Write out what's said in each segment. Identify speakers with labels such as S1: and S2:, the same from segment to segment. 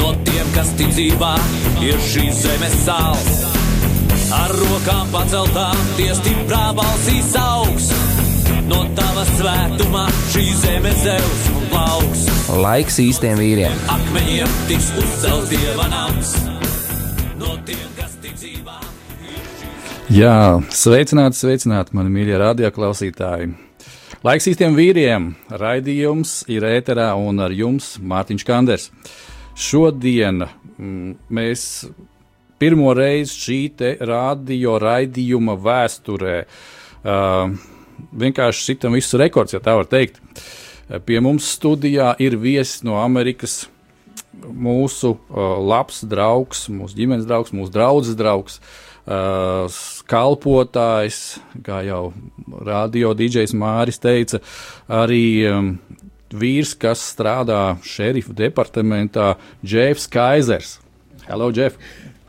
S1: No tiem, kas ticībā ir šīs zemes sāls. Ar rokām paceltām tie stiprā balsīs augs. No tava svētumā šī zeme zeus un plauks.
S2: Laiks īstiem vīriem!
S1: Akmeņiem tiks uzcelts dievanāms. No tiem, kas ticībā ir šīs
S3: Jā, sveicināti, sveicināti, mani mīļie radioklausītāji! Laiks īstiem vīriem! Raidījums ir ēterā un ar jums Mārtiņš Kanders. Šodien mm, mēs pirmo reizi šī te radio raidījuma vēsturē uh, vienkārši sitam visus rekords, ja tā var teikt. Pie mums studijā ir viesis no Amerikas mūsu uh, labs draugs, mūsu ģimenes draugs, mūsu draugs draugs, uh, kalpotājs, kā jau radio DJs Māris teica, arī um, vīrs, kas strādā šerifu departamentā, Džefs Kaisers. Hello, Džef!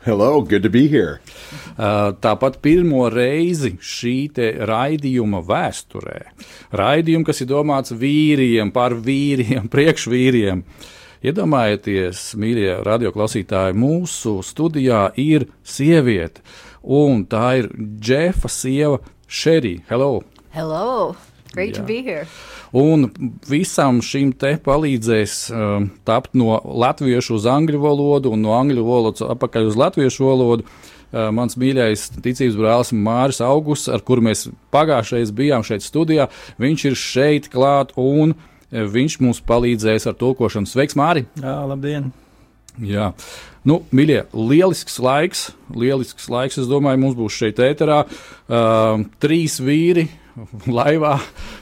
S4: Hello, good to be here.
S3: Uh, Tāpat pirmo reizi šī te raidījuma vēsturē, raidījuma, kas ir domāts vīriem, par vīriem, priekšvīriem. Iedomājieties, mīļie radioklausītāji, mūsu studijā ir sieviete, un tā ir Džefa sieva Šerija. Hello!
S5: Hello. Great to
S3: Yeah.
S5: be here.
S3: Un visam šim te palīdzēs um, tapt no latviešu uz angļu valodu un no angļu valodas atpakaļ uz latviešu valodu. Uh, Mans mīļais ticības brālis Māris Augusts, ar kuru mēs pagājušajā bijām šeit studijā, viņš ir šeit klāt un eh, viņš mums palīdzēs ar tulkošanu. Sveiks, Māri!
S6: Jā, labdien!
S3: Jā, nu, mīļie, lielisks laiks. Lielisks laiks, es domāju, mums būs šeit ēterā. Uh, trīs vīri laivā,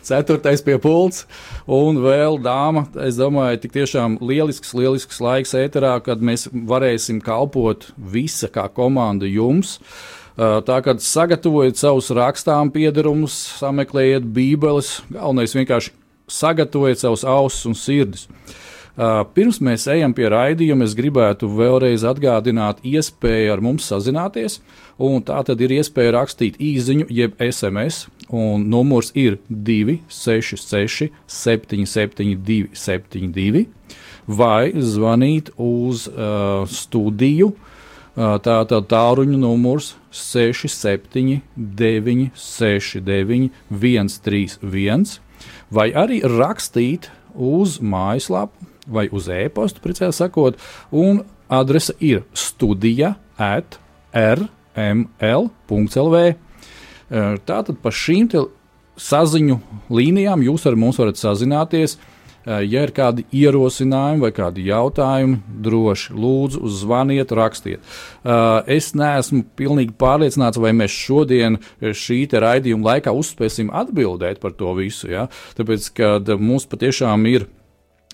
S3: ceturtais pie pults un vēl dāma. Es domāju, tik tiešām lielisks, lielisks laiks ēterā, kad mēs varēsim kalpot visa kā komanda jums. Uh, Tā kā sagatavojiet savus rakstām piedarumus, sameklējiet bībeles, galvenais vienkārši sagatavojiet savus ausis un sirdis. Uh, Pirms mēs ejam pie raidījuma, es gribētu vēlreiz atgādināt, iespēju ar mums sazināties. un Tā tad ir iespēja rakstīt īsiņu, jeb SMS. un Numurs ir 266, 772, 72, vai zvanīt uz uh, studiju. Uh, Tā tad tāluņa numurs 679, 69, 131, vai arī rakstīt uz mājaslapu vai uz e-pastu, precīzāk sakot, un adrese ir studija at rml.lv. Uh, Tātad pa šīm te saziņu līnijām jūs ar mums varat sazināties. Uh, Ja ir kādi ierosinājumi vai kādi jautājumi, droši lūdzu, zvaniet, rakstiet. Uh, Es neesmu pilnīgi pārliecināts, vai mēs šodien eh, šī te raidījuma laikā uzspēsim atbildēt par to visu. Ja? Tāpēc, ka mums patiešām ir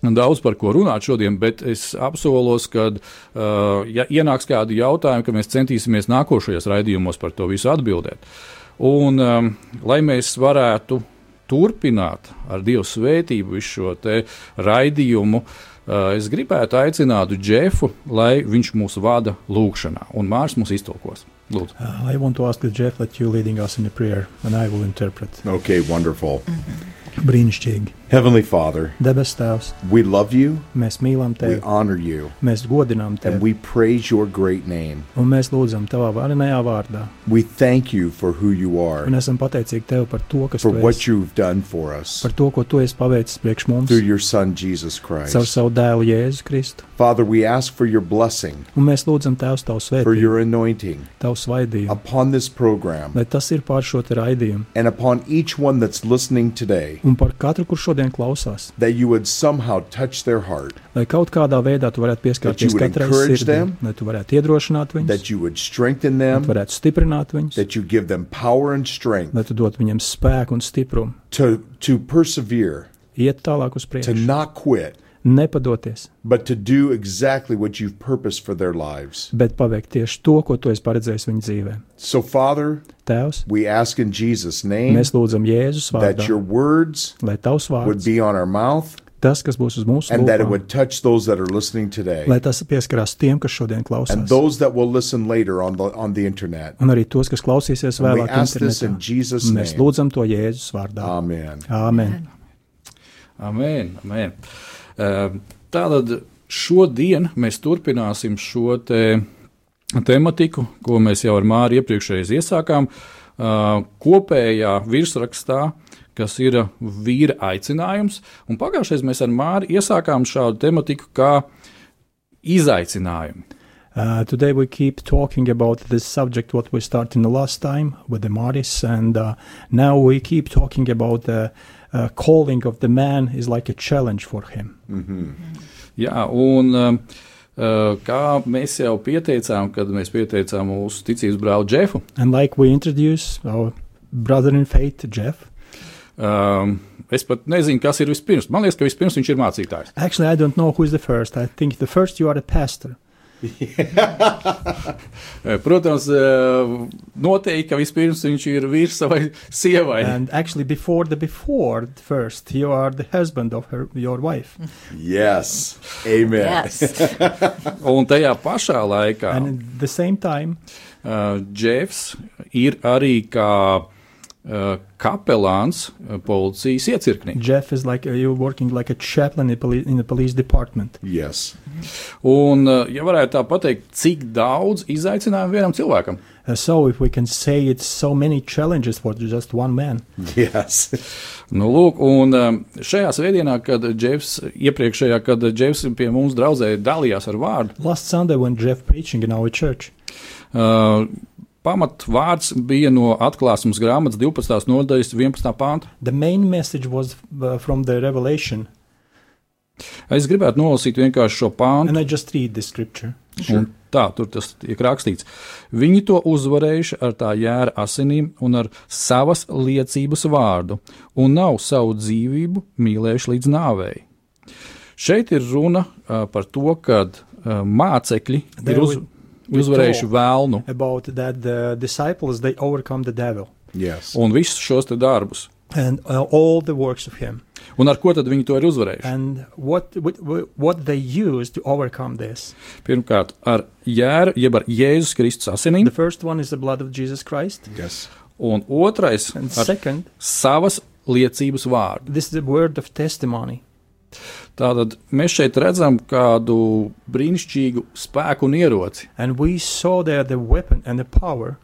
S3: daudz par ko runāt šodien, bet es apsolos, ka, uh, ja ienāks kādi jautājumi, ka mēs centīsimies nākošajos raidījumos par to visu atbildēt. Un, um, lai mēs varētu turpināt ar Dievu svētību visu šo te raidījumu, uh, es gribētu aicināt Džefu, lai viņš mūs vada lūgšanā, un Mārs mums iztolkos. Lūdzu.
S6: Uh, I want to ask you, Jeff, that you leading us in a prayer, and I will interpret.
S4: Okay, wonderful.
S6: Brīnišķīgi.
S4: Heavenly Father,
S6: Debes Tēvs,
S4: we love you,
S6: mēs mīlam
S4: we
S6: Tevi,
S4: honor you,
S6: mēs godinām
S4: and
S6: Tevi,
S4: we praise your great name.
S6: un mēs lūdzam Tavā varenajā vārdā.
S4: We thank you for who you are,
S6: Un esam pateicīgi Tev par to, kas
S4: for
S6: Tu
S4: what
S6: esi,
S4: you've done for us
S6: par to, ko Tu esi paveicis priekš mums,
S4: through your Son, Jesus
S6: caur
S4: Christ.
S6: savu dēlu Jēzu Kristu.
S4: Father, we ask for your blessing,
S6: Un mēs lūdzam Tēvs Tavu
S4: for
S6: svētību,
S4: your anointing
S6: Tavu svaidījumu,
S4: upon this program
S6: lai tas ir pār šo te raidījumu,
S4: and upon each one that's listening today,
S6: un par katru, kurš šodien klausās,
S4: that you would somehow touch their heart,
S6: lai kaut kādā veidā Tu varētu
S4: That you
S6: pieskarties
S4: would
S6: katrai
S4: encourage
S6: sirdī,
S4: them.
S6: lai Tu varētu iedrošināt viņus,
S4: that you would strengthen
S6: lai Tu
S4: them,
S6: varētu stiprināt viņus.
S4: that you give them power and strength
S6: lai tu dotu viņiem spēku un stiprumu,
S4: to, to persevere,
S6: iet tālāk uz
S4: to
S6: priekšu,
S4: not quit,
S6: nepadoties,
S4: but to do exactly what you've purposed for their lives.
S6: bet paveikt tieši to, ko tu esi paredzējis viņu dzīvē.
S4: So, Father,
S6: Tēvs,
S4: we ask in Jesus' name
S6: mēs lūdzam Jēzus
S4: that your
S6: vārdā,
S4: words
S6: lai tavs
S4: would
S6: vārds,
S4: be on our mouth
S6: tas, kas būs uz mūsu
S4: and that it
S6: lūpām,
S4: would touch those that are listening today
S6: lai tas pieskarās tiem, kas šodien
S4: and
S6: klausās,
S4: those that will listen later on the, on the internet.
S6: un arī tos, kas klausīsies
S4: And we
S6: vēlāk
S4: ask this in
S6: internetā.
S4: Jesus'
S6: Mēs
S4: name.
S6: lūdzam to Jēzus vārdā.
S4: Amen.
S6: Āmen.
S3: Amen. amen. Ehm, Tātad šodien mēs turpināsim šo te tematiku, ko mēs jau ar Māri iepriekšējais iesākām. eh, Kopējā virsrakstā, kas ir vīra aicinājums. Un pagājušajā mēs ar Māri iesākām šādu tematiku kā izaicinājumu.
S6: Uh, today we keep talking about this subject what we started in the last time with the Maris, and uh, now we keep talking about the uh, calling of the man is like a challenge for him.
S3: Jā, un um, eh, kā mēs jau pieteicām, kad mēs pieteicām mūsu ticības brāli Džefu,
S6: And like we introduce our brother in faith, Jeff.
S3: Um, es pat nezinu, kas ir vispirms. Man liekas, ka vispirms viņš ir mācītājs.
S6: Actually, I don't know who is the first. I think the first you are a pastor.
S3: Eh, Protams, eh, noteikti, ka vispirms viņš ir vīrs savai sievai.
S6: And actually, before the before first, you are the husband of her, your wife.
S4: Yes. Amen.
S5: Yes.
S3: Un tajā pašā laikā
S6: And at the same time,
S3: eh, Džefs ir arī kā eh, kapelāns eh, policijas iecirknī.
S6: Jeff is like uh, you're working like a chaplain in, poli- in the police department.
S4: Yes.
S3: Un, eh, ja varētu tā pateikt, cik daudz izaicinājumu vienam cilvēkam?
S6: Uh, so, if we can say it's so many challenges for just one man.
S4: Yes.
S3: Nu, lūk, un um, šajā svētdienā, kad Džefs iepriekšējā, kad Džefs pie mums draudzē dalījās ar vārdu,
S6: Last Sunday, when Jeff preaching in our church,
S3: Uh, pamatvārds bija no atklāsmes grāmatas 12. nodaļas 11. pānta.
S6: the main message was uh, from the Revelation,
S3: Es gribētu nolasīt vienkārši šo
S6: and
S3: pāntu.
S6: I just read the scripture.
S3: un Tā, tur tas tiek rakstīts. Viņi to uzvarējuši ar tā jēra asinīm un ar savas liecības vārdu, un nav savu dzīvību mīlējuši līdz nāvei. Šeit ir runa uh, par to, ka uh, mācekļi
S6: They
S3: ir uz,
S6: were-
S3: uzvarējuši vēlnu
S6: About that, the disciples they overcome the devil
S4: Yes.
S3: un visus šos te darbus.
S6: and uh, all the works of him,
S3: Un ar ko tad viņi to ir uzvarējuši?
S6: and what what, what they use to overcome this.
S3: Pirmkārt, ar jēru, jeb ar Jēzus Kristus asinīm,
S6: The first one is the blood of Jesus Christ,
S4: Yes.
S3: un otrais
S6: and
S3: ar
S6: second,
S3: savas liecības vārdu.
S6: this is the word of testimony.
S3: Tātad mēs šeit redzam kādu brīnišķīgu spēku un ieroci,
S6: And we saw there the weapon and the power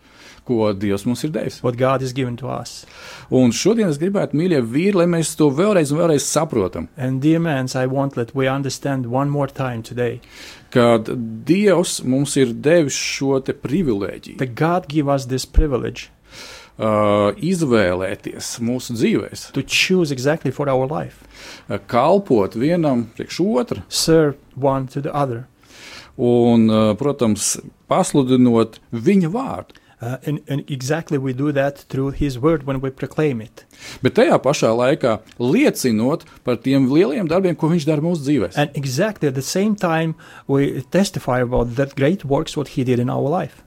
S3: ko Dievs mums ir devis.
S6: what God is given to us.
S3: Un šodien es gribētu, mīļie vīri, lai mēs to vēlreiz un vēlreiz saprotam,
S6: And dear man, I want that we understand one more time today
S3: ka Dievs mums ir devis šo te privilēģiju
S6: that God give us this privilege
S3: uh, izvēlēties mūsu dzīvēs,
S6: to choose exactly for our life,
S3: uh, kalpot vienam priekš otru
S6: serve one to the other,
S3: un, uh, protams, pasludinot viņa vārdu.
S6: uh, and, and exactly we do that through His Word when we proclaim it,
S3: Bet tajā pašā laikā liecinot par tiem lielajiem darbiem, ko viņš dara mūsu dzīvēm.
S6: and exactly at the same time we testify about that great works what He did in our life.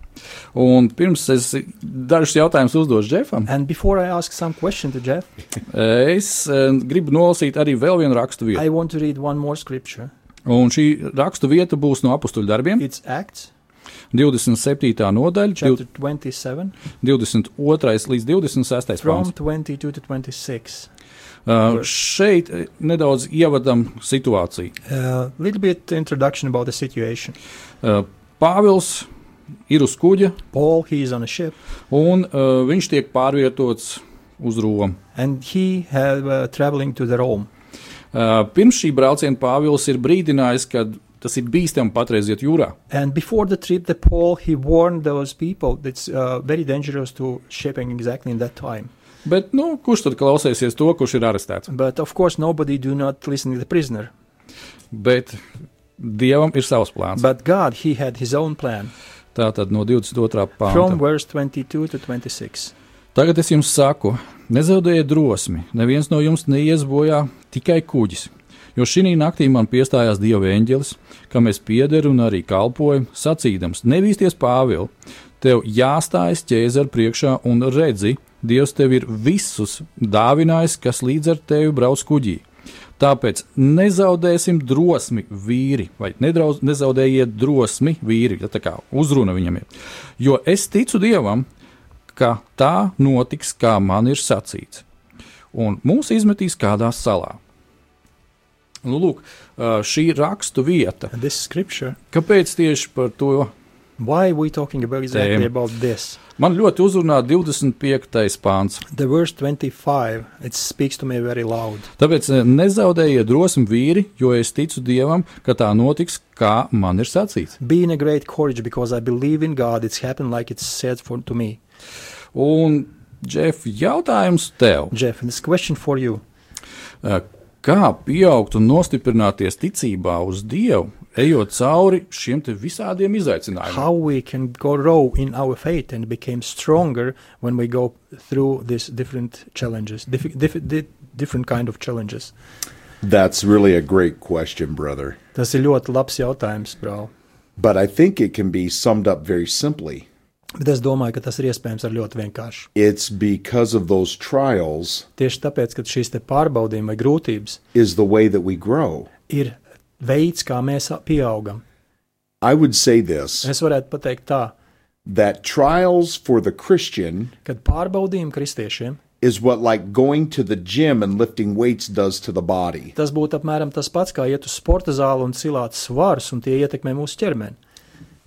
S3: Un pirms es dažus jautājumus uzdošu Džefam,
S6: And before I ask some question to Jeff,
S3: es eh, gribu nolasīt arī vēl vienu rakstu vietu.
S6: I want to read one more scripture.
S3: Un šī rakstu vieta būs no apakstuļu darbiem,
S6: It's Acts
S3: 27. nodaļa,
S6: chapter
S3: div-
S6: 27,
S3: 22. līdz 26.
S6: from
S3: pāns.
S6: 22 to 26.
S3: Eh, Šeit eh, nedaudz ievadam situāciju.
S6: A little bit introduction about the situation.
S3: Eh, Pāvils ir uz kuģa,
S6: Paul, he is on a ship,
S3: un eh, viņš tiek pārvietots uz Romu.
S6: and he have uh, traveling to the Rome.
S3: Uh, pirms šī brauciena Pāvils ir brīdinājis, ka tas ir bīstami patreiz iet jūrā.
S6: And before the trip, the Paul he warned those people that's uh, very dangerous to shipping exactly in that time.
S3: Bet nu, kurš tad klausīsies to, kurš ir arestēts?
S6: But of course, nobody do not listen to the prisoner.
S3: Bet Dievam ir savs plāns. Bet.
S6: But God, he had his own plan.
S3: Tā tad no 22.
S6: From
S3: pānta.
S6: verse 22 to 26.
S3: Tagad es jums saku, nezaudējiet drosmi. Neviens no jums neies bojā, tikai kuģis. Jo šī naktī man piestājās Dieva eņģelis, kam es piederu un arī kalpoju, sacīdams: Nebīsties, Pāvils, tev jāstājas ķēzara priekšā un redzi, Dievs tev ir visus dāvinājis, kas līdz ar tevi brauc kuģī. Tāpēc nezaudēsim drosmi, vīri, vai nedrauz, nezaudējiet drosmi, vīri. Tā kā uzruna viņam ir. Jo es ticu Dievam, ka tā notiks, kā man ir sacīts. Un mūs izmetīs kādā salā. Nu, lūk, ā, šī rakstu vieta.
S6: And this scripture,
S3: Kāpēc tieši par to?
S6: why we talking about exactly
S3: Same.
S6: about this?
S3: Man ļoti uzrunā 25. pāns.
S6: The verse 25, it speaks to me very loud.
S3: Tāpēc eh, nezaudējiet drosmi, vīri, jo es ticu Dievam, ka tā notiks, kā man ir sacīts.
S6: Be in a great courage because I believe in God. It's happened like it's said for, to me.
S3: Un, Džef, jautājums tev.
S6: Jeff, this question for you.
S3: Eh, Kā pieaugt un nostiprināties ticībā uz Dievu, ejot cauri šiem te visādiem izaicinājumiem?
S6: How we can grow in our faith and become stronger when we go through these different challenges, diff- diff- di- different kind of challenges.
S4: That's really a great question, brother.
S6: Tas ir ļoti labs jautājums, brāl.
S4: But I think it can be summed up very simply.
S6: Bet es domāju, ka tas ir iespējams ar ļoti vienkāršu.
S4: It's because of those trials
S6: Tieši tāpēc, ka šīs te pārbaudījumi vai grūtības
S4: is the way that we grow.
S6: ir veids, kā mēs a- pieaugam.
S4: I would say this
S6: Es varētu pateikt tā,
S4: that trials for the Christian
S6: ka pārbaudījumi kristiešiem
S4: is what like going to the gym and lifting weights does to the body.
S6: tas būtu apmēram tas pats, kā iet uz sporta zāli un cilāt svārus, un tie ietekmē mūsu ķermeni.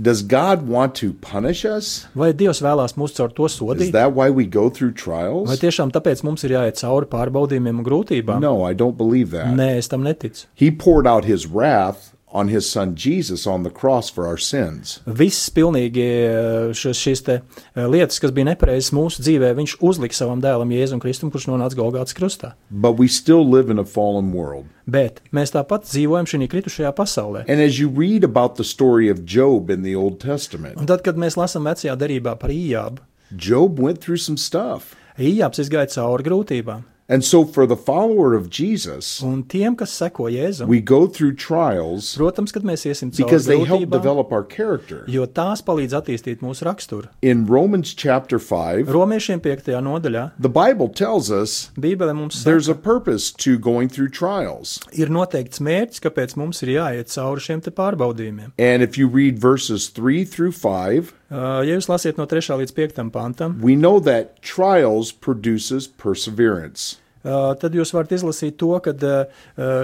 S4: Does God want to punish us?
S6: Vai Dievs vēlās mūs caur to
S4: Is
S6: sodīt?
S4: that why we go through
S6: Vai
S4: trials?
S6: tiešām tāpēc mums ir jāiet cauri pārbaudījumiem un grūtībām?
S4: No, I don't believe that.
S6: Nē, es tam neticu.
S4: He poured out his wrath on his son Jesus on the cross for our sins.
S6: Viss pilnīgi eh, šo- šīs te, eh, lietas, kas bija nepareizas mūsu dzīvē, viņš uzlika savam dēlam Jēzum Kristum, kurš nonāca Golgātas krustā.
S4: But we still live in a fallen world.
S6: Bet mēs tāpat dzīvojam šajā kritušajā pasaulē.
S4: And as you read about the story of Job in the Old Testament,
S6: Un tad, kad mēs lasām vecajā derībā par īābu,
S4: Job went through some stuff.
S6: īāps izgāja cauri grūtībām.
S4: And so for the follower of Jesus,
S6: Un tiem, kas seko Jēzum,
S4: we go through trials
S6: protams, kad mēs iesim cauri
S4: because they help
S6: grūtībām,
S4: develop our character.
S6: jo tās palīdz attīstīt mūsu raksturu.
S4: In Romans chapter 5,
S6: Romiešiem 5. nodaļā
S4: the Bible tells us
S6: Bībele mums saka,
S4: there's a purpose to going through trials.
S6: ir noteikts mērķis, kāpēc mums ir jāiet cauri šiem te pārbaudījumiem.
S4: And if you read verses 3 through 5,
S6: Uh, Ja jūs lasiet no 3. līdz 5. pantam,
S4: we know that trials produces perseverance.
S6: uh, tad jūs varat izlasīt to, ka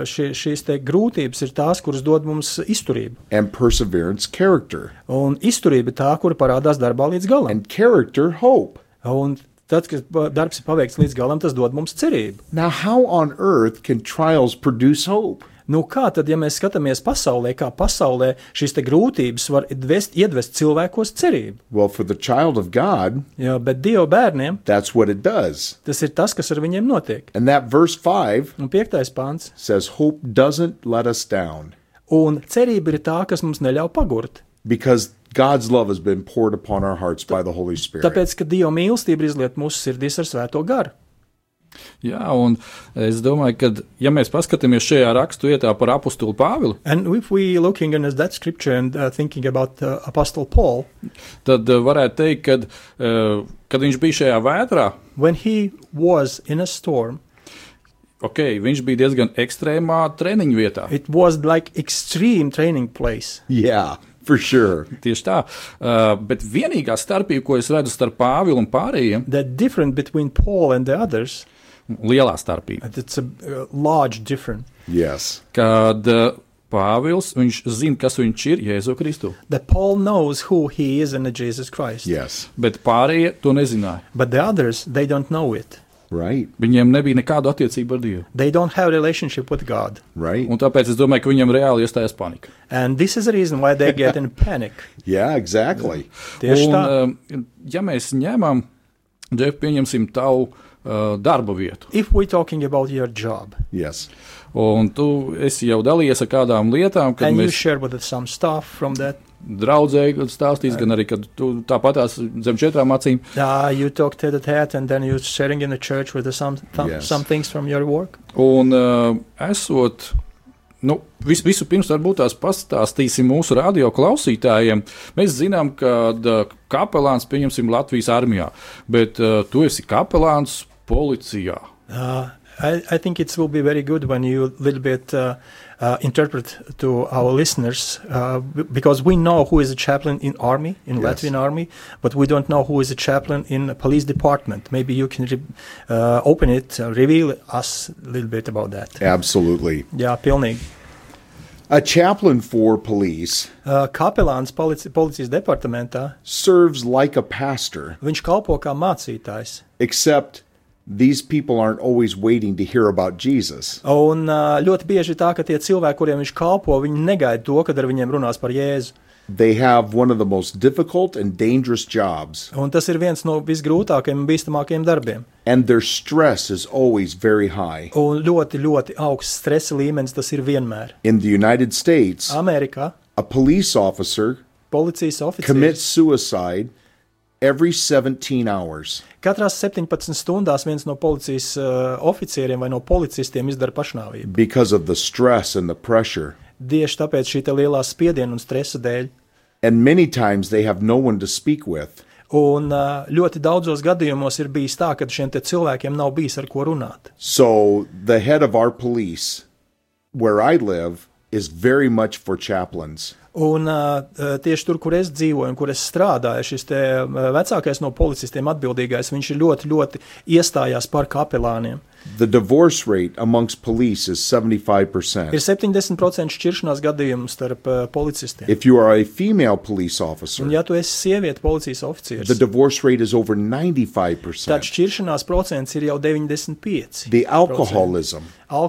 S6: šie, šīs te grūtības ir tās, kuras dod mums izturību.
S4: And perseverance, character.
S6: Un izturība ir tā, kur parādās darbā līdz galam.
S4: And character, hope.
S6: Un tad, kad pa- darbs ir paveikts līdz galam, tas dod mums cerību.
S4: Now, how on earth can trials produce hope?
S6: Nu, kā tad, ja mēs skatāmies pasaulē, kā pasaulē šīs te grūtības var iedvest, iedvest cilvēkos cerību?
S4: Well, for the child of God,
S6: Jā, bet Dieva bērniem
S4: that's what it does.
S6: tas ir tas, kas ar viņiem notiek.
S4: And that verse 5
S6: Un piektais pāns.
S4: says, Hope doesn't let us down
S6: Un cerība ir tā, kas mums neļauj pagurt.
S4: because God's love has been poured upon our hearts by the Holy Spirit.
S6: Tāpēc, ka Dieva mīlestība izliet mūsu sirdīs ar svēto garu.
S3: Jā, un es domāju, ka, ja mēs paskatāmies šajā rakstu vietā par apustulu Pāvilu,
S6: And if we looking at that scripture and uh, thinking about uh, Apostle Paul,
S3: tad eh, varētu teikt, ka, eh, kad viņš bija šajā vētrā,
S6: when he was in a storm,
S3: okay, viņš bija diezgan ekstrēmā treniņu vietā.
S6: it was like extreme training place.
S4: Yeah, for sure.
S3: Tieši tā, Eh, bet vienīgā starpība, ko es redzu starp Pāvilu un pārējiem,
S6: The difference between Paul and the others,
S3: lielā starpība,
S6: and it's a uh, large difference.
S4: Yes.
S3: kad eh, Pāvils viņš zina, kas viņš ir Jēzu Kristu,
S6: That Paul knows who he is in Jesus Christ,
S4: Yes.
S3: bet pārējie to nezināja.
S6: but the others they don't know it.
S4: Right.
S3: Viņiem nebija nekādu attiecību ar Dievu.
S6: They don't have relationship with God,
S4: Right.
S3: Un tāpēc es domāju, ka viņam reāli iestājas panika.
S6: and this is the reason why they get in panic.
S4: Yeah, exactly.
S6: Tieši tā.
S3: Un, um, ja mēs ņemam, Džef, pieņemsim tavu uh, darba vietu,
S6: If we're talking about your job
S4: Yes.
S3: un tu esi jau dalījies ar kādām lietām, kad
S6: and you
S3: mēs
S6: share with us some stuff from that,
S3: draudzēji stāstīs, gan arī, kad tu tāpatās zem četrām acīm,
S6: uh, you talk to the tat and then you're sharing in the church with us some th-
S4: Yes.
S6: some things from your work.
S3: un uh, esot Nu, vis, visu pirms varbūt tās pastāstīsim mūsu radio klausītājiem. Mēs zinām, ka ā, kapelāns, pieņemsim, Latvijas armijā, bet uh, tu esi kapelāns policijā.
S6: Uh, I, I think it will be very good when you a little bit uh, uh, interpret to our listeners uh, b- because we know who is a chaplain in army in Latvian army, but we don't know who is a chaplain in a police department. Maybe you can re- uh, open it, uh, reveal us a little bit about that.
S4: Absolutely.
S6: Jā, pilnīgi.
S4: A chaplain for police
S6: Uh, kapelāns polici, policijas departamentā
S4: serves like a pastor,
S6: viņš kalpo kā mācītājs.
S4: except these people aren't always waiting to hear about Jesus.
S6: Un uh, ļoti bieži tā, ka tie cilvēki, kuriem viņš kalpo, viņi negaida to, kad ar viņiem runās par Jēzu.
S4: They have one of the most difficult and dangerous jobs,
S6: Un tas ir viens no visgrūtākajiem un bīstamākajiem darbiem.
S4: and their stress is always very high.
S6: Un ļoti, ļoti augsts stresa līmenis tas ir vienmēr.
S4: In the United States,
S6: Amerikā
S4: a police officer
S6: policijas oficiālis
S4: commits suicide every 17 hours.
S6: katrā 17 stundās viens no policijas uh, oficieriem vai no policistiem izdara pašnāvību.
S4: because of the stress and the pressure.
S6: Tieši tāpēc šī te lielā spiediena un stresa dēļ.
S4: And many times they have no one to speak with.
S6: Un uh, ļoti daudzos gadījumos ir bijis tā, ka šiem te cilvēkiem nav bijis ar ko runāt.
S4: So the head of our police, where I live, is very much for chaplains.
S6: Un uh, tieši tur, kur es dzīvoju un kur es strādāju, šis te, uh, vecākais no policistiem atbildīgais, viņš ir ļoti, ļoti iestājās par kapelāniem.
S4: The divorce rate amongst police is
S6: Ir
S4: 75%.
S6: 70% šķiršanās gadījumu starp uh, policistiem.
S4: If you are a female police
S6: Un,
S4: officer,
S6: ja tu esi sieviete, policijas
S4: the
S6: oficieris,
S4: divorce rate is over
S6: tad
S4: 95%.
S6: šķiršanās procents ir jau 95%.
S4: The alcoholism,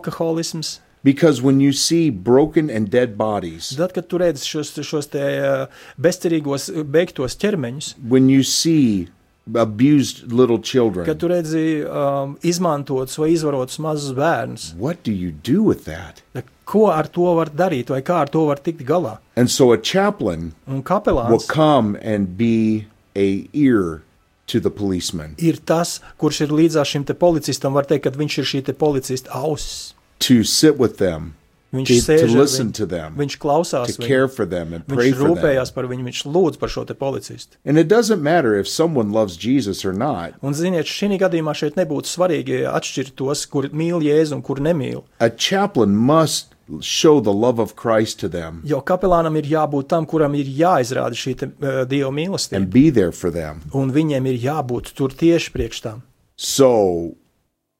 S6: Alkoholisms.
S4: because when you see broken and dead bodies,
S6: Tad, kad tu redz šos, šos te, uh, bezcerīgos, uh, beigtos ķermeņus,
S4: when you see abused little
S6: kad
S4: children,
S6: tu redzi um, izmantotus vai izvarotus mazus bērnus,
S4: what do you do with that?
S6: tad ko ar to var darīt vai kā ar to var tikt galā?
S4: And so a chaplain
S6: Un
S4: will
S6: kapelāns
S4: come and be a ear to the policeman
S6: ir tas, kurš ir līdzās šim te policistam, var teikt, ka viņš ir šī te policista auss.
S4: to sit with them
S6: Viņš
S4: To- to
S6: sēž, ar
S4: listen
S6: viņu,
S4: to them,
S6: viņš klausās,
S4: to
S6: viņu,
S4: care for them and pray
S6: viņš
S4: for them
S6: rūpējās par viņu, viņš lūdz par šo te policistu.
S4: and it doesn't matter if someone loves jesus or not
S6: Un, ziniet, šī gadījumā šeit nebūtu svarīgi atšķirt tos, kur mīl Jēzu un kur nemīl.
S4: a chaplain must show the love of christ to them
S6: Jo kapelānam ir jābūt tam, kuram ir jāizrāda šī te, uh, dieva mīlestība,
S4: and be there for them
S6: un viņiem ir jābūt tur tieši priekš tam.
S4: so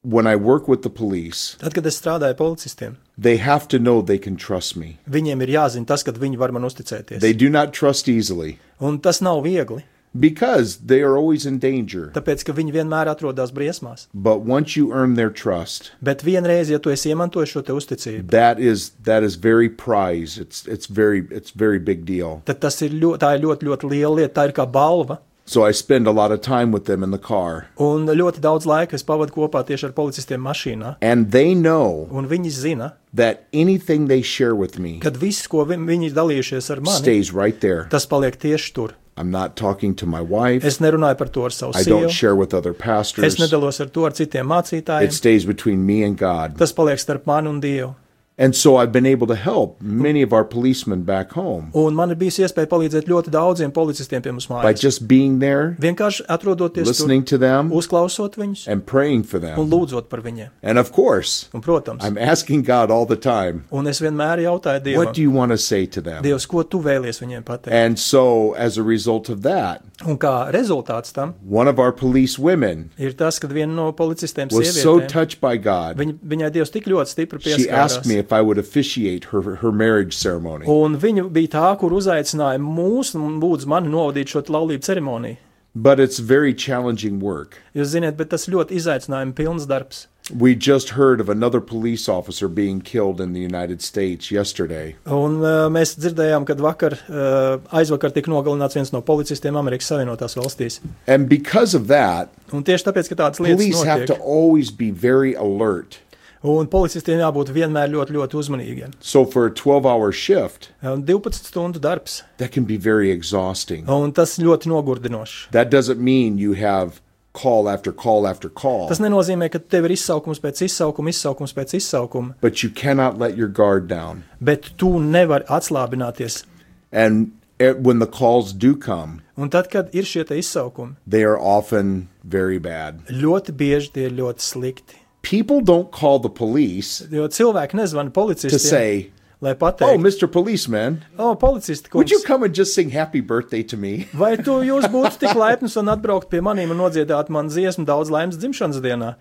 S4: when i work with the police
S6: Tad, kad es strādāju policistiem,
S4: they have to know they can trust me
S6: viņiem ir jāzina tas, kad viņi var man uzticēties.
S4: they do not trust easily
S6: Un tas nav viegli,
S4: because they are always in danger
S6: tāpēc ka viņi vienmēr atrodas briesmās.
S4: but once you earn their trust
S6: Bet vienreiz, ja tu esi iemantojis šo te uzticību,
S4: that is that is very prized. It's it's very it's very big deal.
S6: tad tas ir ļoti, tā ir ļoti, ļoti liela lieta. Tā ir kā balva.
S4: So I spend a lot of time with them in the car,
S6: Un ļoti daudz laika es pavadu kopā tieši ar policistiem mašīnā.
S4: and they know
S6: Un viņi zina,
S4: that anything they share with me
S6: ka viss, ko vi- viņi ir dalījušies ar mani,
S4: stays right there.
S6: tas paliek tieši tur.
S4: I'm not talking to my wife.
S6: Es nerunāju par to ar savu
S4: I don't
S6: sievu.
S4: share with other
S6: Es
S4: pastors.
S6: nedalos ar to ar citiem
S4: It
S6: mācītājiem.
S4: stays between me and God.
S6: Tas paliek starp mani un Dievu.
S4: And so I've been able to help many of our policemen back home
S6: Un man ir bijusi iespēja palīdzēt ļoti daudziem policistiem pie mums
S4: by
S6: mājās.
S4: just being there,
S6: Vienkārši atrodoties tur,
S4: listening to them,
S6: uzklausot viņus
S4: and praying for
S6: un
S4: them.
S6: lūdzot par viņiem.
S4: And of course,
S6: Un, protams,
S4: I'm asking God all the time,
S6: un es vienmēr jautāju
S4: what do
S6: Dievam,
S4: you want to say to them?
S6: Dievs, ko tu vēlies viņiem pateikt?
S4: And so, as a result of that,
S6: Un kā rezultāts tam
S4: one of our police women
S6: ir tas, ka viena no policistiem
S4: was so
S6: sievietēm,
S4: touched by God,
S6: viņa, viņai Dievs tik ļoti stipri
S4: she asked me
S6: pieskārās.
S4: if I would officiate her, her marriage ceremony.
S6: Un viņa bija tā, kur uzaicināja mūs un lūdzu mani novadīt šo te laulību ceremoniju.
S4: But it's very challenging work.
S6: Jūs zināt, bet tas ļoti izaicinājuma pilns darbs.
S4: We just heard of another police officer being killed in the United States yesterday.
S6: Un uh, mēs dzirdējām, kad vakar, uh, aizvakar tika nogalināts viens no policistiem Amerikas Savienotās valstīs.
S4: And because of that,
S6: Un tieši tāpēc, ka tādas lietas
S4: police have to
S6: notiek,
S4: always be very alert.
S6: un policistiem jābūt vienmēr ļoti, ļoti uzmanīgiem.
S4: So, for a 12 hour shift,
S6: Un 12 stundu darbs,
S4: that can be very exhausting.
S6: un tas ļoti nogurdinoši.
S4: That doesn't mean you have call after call after call.
S6: Tas nenozīmē, ka tev ir izsaukums pēc izsaukuma, izsaukums pēc izsaukuma,
S4: But you cannot let your guard down.
S6: bet tu nevari atslābināties.
S4: And it, when the calls do come,
S6: Un tad, kad ir šie te izsaukumi,
S4: they are often very bad.
S6: ļoti bieži tie ir ļoti slikti.
S4: People don't call the police
S6: Jo cilvēki nezvana
S4: to
S6: policistiem,
S4: say,
S6: lai
S4: Oh,
S6: pateiktu,
S4: Mr. Policeman,
S6: oh, policisti,
S4: would you
S6: kungs,
S4: come and just sing happy birthday to me?
S6: vai tu jūs būtu tik laipns un atbraukt pie maniem un nodziedāt man dziesmu daudz laimes dzimšanas dienā?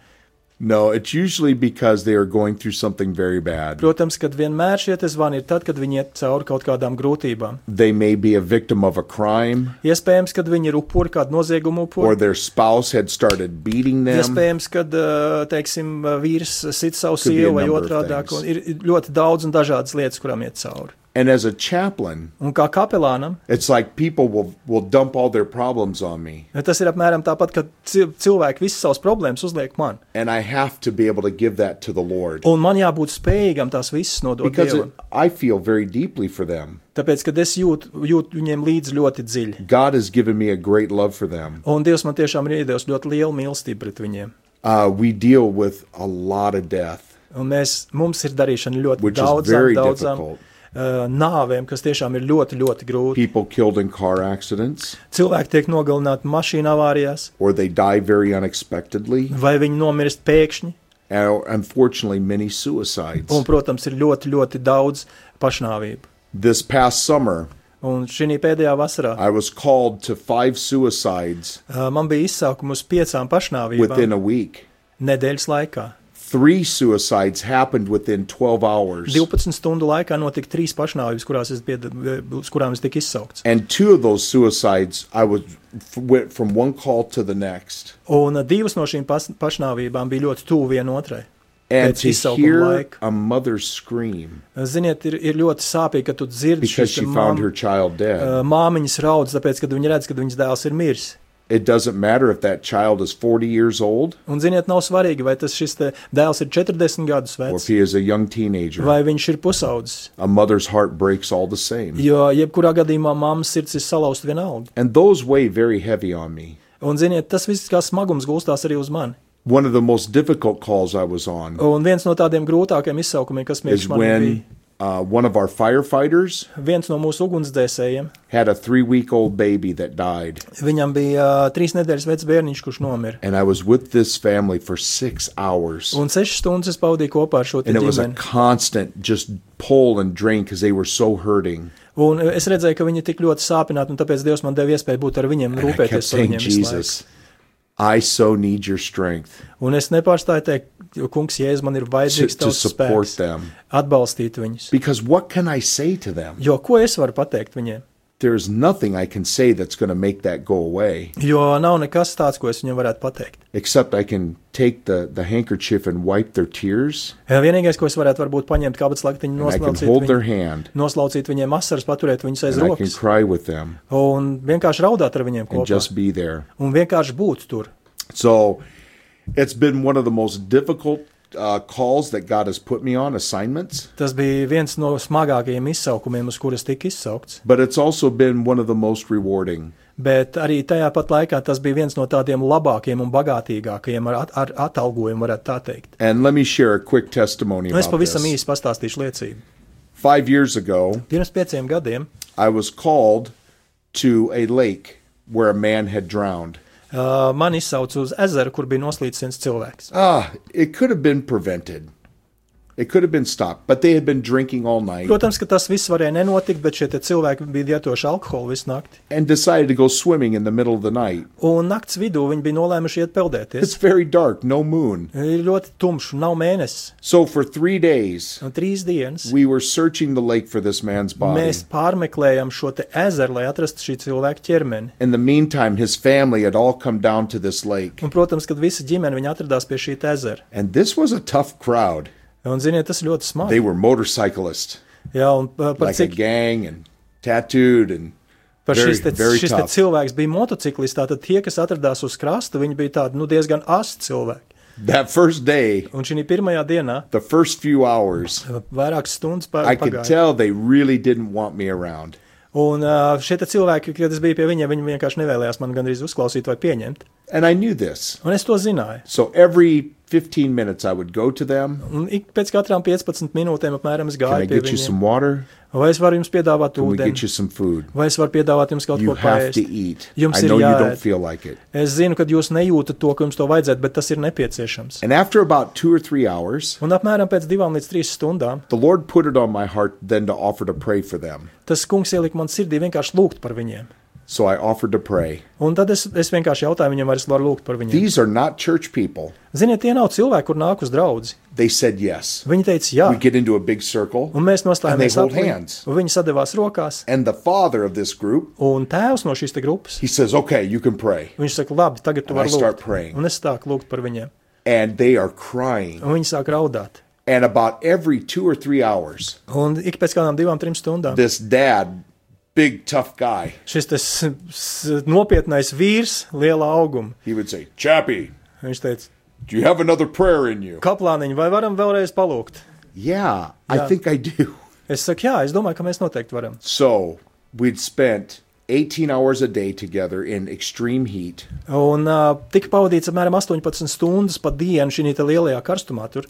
S4: No, it's usually because they are going through something very bad.
S6: Protams, kad vienmēr šie te zvani ir tad, kad viņi iet cauri kaut kādām grūtībām.
S4: They may be a victim of a crime,
S6: Iespējams, kad viņi ir upuri kādu noziegumu
S4: or
S6: upuri.
S4: their spouse had started beating them.
S6: Iespējams, ka teiksim, vīrs sit savu
S4: Could be a
S6: sievu vai
S4: number of
S6: otrādi.
S4: things.
S6: Ir ir ļoti daudz un dažādas lietas, kurām iet cauri.
S4: And as a chaplain,
S6: Un kā kapelānam,
S4: it's like people will, will dump all their problems on me,
S6: tas ir apmēram tāpat, ka cil- cilvēki visas savas problēmas uzliek man.
S4: and I have to be able to give that to the Lord.
S6: Un man jābūt spējīgam tās visas nodot.
S4: Because it,
S6: Dievam.
S4: I feel very deeply for them.
S6: Tāpēc, kad es jūtu, jūtu viņiem līdzi ļoti dziļi.
S4: God has given me a great love for them.
S6: Un Dievs man tiešām ir iedevis ļoti lielu mīlestību pret viņiem.
S4: Uh, we deal with a lot of death.
S6: Un mēs, mums ir darīšana ļoti
S4: Which is
S6: daudzām,
S4: very
S6: daudzām
S4: difficult.
S6: uh, nāvēm, kas tiešām ir ļoti, ļoti grūti.
S4: People killed in car accidents,
S6: Cilvēki tiek nogalināti mašīnu avārijās,
S4: or they die very unexpectedly.
S6: vai viņi nomirst pēkšņi.
S4: And unfortunately, many suicides.
S6: Un, protams, ir ļoti, ļoti daudz pašnāvību.
S4: This past summer,
S6: Un šī pēdējā vasarā
S4: I was called to five suicides
S6: uh, man bija izsaukums uz piecām
S4: within
S6: pašnāvībām
S4: a week.
S6: nedēļas laikā.
S4: Three suicides happened within 12 hours,
S6: 12 stundu laikā notika trīs pašnāvības, kurās es bied, uz kurām es tiku izsaukts.
S4: and two of those suicides, I was f- went from one call to the next.
S6: Un uh, divas no šīm pas, pašnāvībām bija ļoti tuvu vienotrai.
S4: And
S6: Pēc
S4: to
S6: izsaukuma
S4: hear
S6: laika.
S4: a mother scream
S6: Ziniet, ir, ir ļoti sāpīgi, ka tu dzirdi
S4: because
S6: šīs
S4: she
S6: te
S4: found her
S6: mam-
S4: child
S6: uh,
S4: dead.
S6: māmiņas raudz, tāpēc, kad viņa redz, ka viņas dēls ir miris.
S4: It doesn't matter if that child is 40 years old
S6: Un, ziniet, nav svarīgi, vai tas šis te dēls ir 40 gadus
S4: or if
S6: vecs,
S4: he is a young teenager.
S6: vai viņš ir pusaudzis.
S4: A mother's heart breaks all the same.
S6: Jo jebkurā gadījumā mammas sirds ir salauzta vienalga.
S4: And those weigh very heavy on me.
S6: Un, ziniet, tas viss kā smagums gulstās arī uz mani.
S4: One of the most difficult calls I was on
S6: Un viens no tādiem grūtākiem izsaukumiem, kas
S4: is
S6: mirst man bija,
S4: when uh, one of our firefighters
S6: viens no mūsu ugunsdzēsējiem.
S4: had a three week old baby that died.
S6: Viņam bija uh, trīs nedēļas vecs bērniņš, kurš nomira.
S4: And I was with this family for six hours.
S6: Un sešas stundas es pavadīju kopā ar šo te
S4: And it was a
S6: ģimeni.
S4: constant just pull and drain because they were so hurting.
S6: Un es redzēju, ka viņi ir tik ļoti sāpināti, un tāpēc Dievs man deva iespēju būt ar viņiem,
S4: And I kept
S6: rūpēties par
S4: saying,
S6: viņiem. visu laiku.
S4: Jesus, I so need your strength
S6: Un es nepārstāju teikt, jo, kungs, Jēzus, man ir
S4: to,
S6: vajadzīgs
S4: to
S6: tavs
S4: support
S6: spēks
S4: them.
S6: atbalstīt viņus.
S4: Because what can I say to them?
S6: Jo ko es varu pateikt viņiem?
S4: There's nothing I can say that's going to make that go away,
S6: Jo nav nekas tāds, ko es viņiem varētu pateikt.
S4: except I can take the, the handkerchief and wipe their tears,
S6: Eh, Vienīgais, ko es varētu varbūt paņemt kāpēc laktiņu,
S4: and I can
S6: noslaucīt,
S4: hold their
S6: viņu,
S4: hand,
S6: noslaucīt viņiem asaras, paturēt viņus aiz
S4: and I can
S6: rokas
S4: cry with them,
S6: un vienkārši raudāt ar viņiem
S4: and
S6: kopā.
S4: just be there.
S6: Un vienkārši būt tur.
S4: So it's been one of the most difficult uh, calls that God has put me on, assignments,
S6: Tas bija viens no smagākajiem izsaukumiem, uz kuras tika izsaukts.
S4: but it's also been one of the most rewarding.
S6: Bet arī tajā pat laikā tas bija viens no tādiem labākajiem un bagātīgākajiem ar, at- ar atalgojumu, varētu tā teikt.
S4: And let me share a quick testimony
S6: Nu, es
S4: about
S6: pavisam
S4: this.
S6: īsi pastāstīšu liecību.
S4: Five years ago,
S6: Pirms pieciem gadiem
S4: I was called to a lake where a man had drowned.
S6: uh, man izsauca uz ezeru, kur bija noslīdis viens cilvēks.
S4: Ah, it could have been prevented. It could have been stopped, but they had been drinking all night
S6: Protams, ka tas viss varēja nenotikt, bet šie te cilvēki bija lietojuši alkoholu visu nakti.
S4: and decided to go swimming in the middle of the night.
S6: Un naktas vidū viņi bija nolēmuši iet peldēties.
S4: It's very dark, no moon.
S6: Ir ļoti tumšs, nav mēnesis,
S4: So for three days,
S6: un trīs dienas.
S4: we were searching the lake for this man's body.
S6: Mēs pārmeklējam šo te ezeru, lai atrastu šī cilvēka ķermeni.
S4: In the meantime, his family had all come down to this lake.
S6: Un, protams, kad visa ģimene viņa atradās pie šī te ezera.
S4: And this was a tough crowd.
S6: Un, ziniet, tas ir ļoti smagi.
S4: They were motorcyclists,
S6: Jā, un pa- par
S4: like a
S6: cik
S4: gang and tattooed and
S6: par
S4: very,
S6: šis, te,
S4: very
S6: šis te
S4: tough.
S6: cilvēks bija motociklists, tad tie, kas atradās uz krasta, viņi bija tādi nu, diezgan asti cilvēki.
S4: That first day,
S6: Un šī pirmajā dienā
S4: the first few hours,
S6: vairākas stundas pa-
S4: I could
S6: pagāja.
S4: tell they really didn't want me around.
S6: Un ā, šie te cilvēki, kad es biju pie viņiem, viņi vienkārši nevēlējās man gandrīz uzklausīt vai pieņemt.
S4: And I knew this.
S6: Un es to zināju.
S4: So every 15 minutes, I would go to them.
S6: Un ik pēc katrām 15 minūtēm apmēram es
S4: Can I
S6: gāju pie
S4: get you some
S6: viņiem.
S4: water?
S6: Vai es varu jums piedāvāt
S4: Can we get
S6: ūdeni?
S4: you some food?
S6: Vai es varu piedāvāt jums kaut
S4: You
S6: ko
S4: have to
S6: paēst?
S4: eat.
S6: Jums
S4: I
S6: ir
S4: know you don't
S6: jāēd.
S4: feel like it.
S6: Es zinu, ka jūs nejūtat to, ka jums to vajadzētu, bet tas ir nepieciešams.
S4: And after about two or three hours,
S6: Un apmēram pēc divām līdz trīs stundām
S4: the Lord put it on my heart then to offer to pray for them.
S6: tas kungs ielika man sirdī vienkārši lūgt par viņiem.
S4: So I offered to pray.
S6: Un tad es, es vienkārši jautāju viņam, vai es varu lūgt par viņiem.
S4: These are not church people.
S6: Ziniet, tie nav cilvēki, kur nāk uz draugu.
S4: They said yes.
S6: Viņi teica, jā,
S4: We get into a big circle,
S6: un mēs noslēdzām
S4: And they hold hands.
S6: Viņi sadavās rokās,
S4: and the father of this group,
S6: un tēvs no šīs te grupas.
S4: he says, "Okay, you can pray."
S6: Viņš saka, labi, tagad tu
S4: And I
S6: vari
S4: start
S6: lūgt.
S4: praying.
S6: Un es sāku lūgt par viņiem.
S4: And they are crying.
S6: Un viņi sāk raudāt.
S4: And about every 2 or 3 hours,
S6: Un ik pēc kādām divām, trim stundām
S4: this dad, big tough guy,
S6: šis tas, s, nopietnais vīrs, liela auguma,
S4: he would say, "Chappie,
S6: viņš teica,
S4: do you have another prayer in you?"
S6: kaplāniņ, vai varam vēlreiz palūgt?
S4: Yeah, I
S6: Yeah.
S4: think I do.
S6: Es saku, jā, es domāju, ka mēs noteikti varam.
S4: So we'd spent 18 hours a day together in extreme heat.
S6: Un uh, tika pavadīts apmēram 18 stundas pa dienu šī te lielajā karstumā. Tur.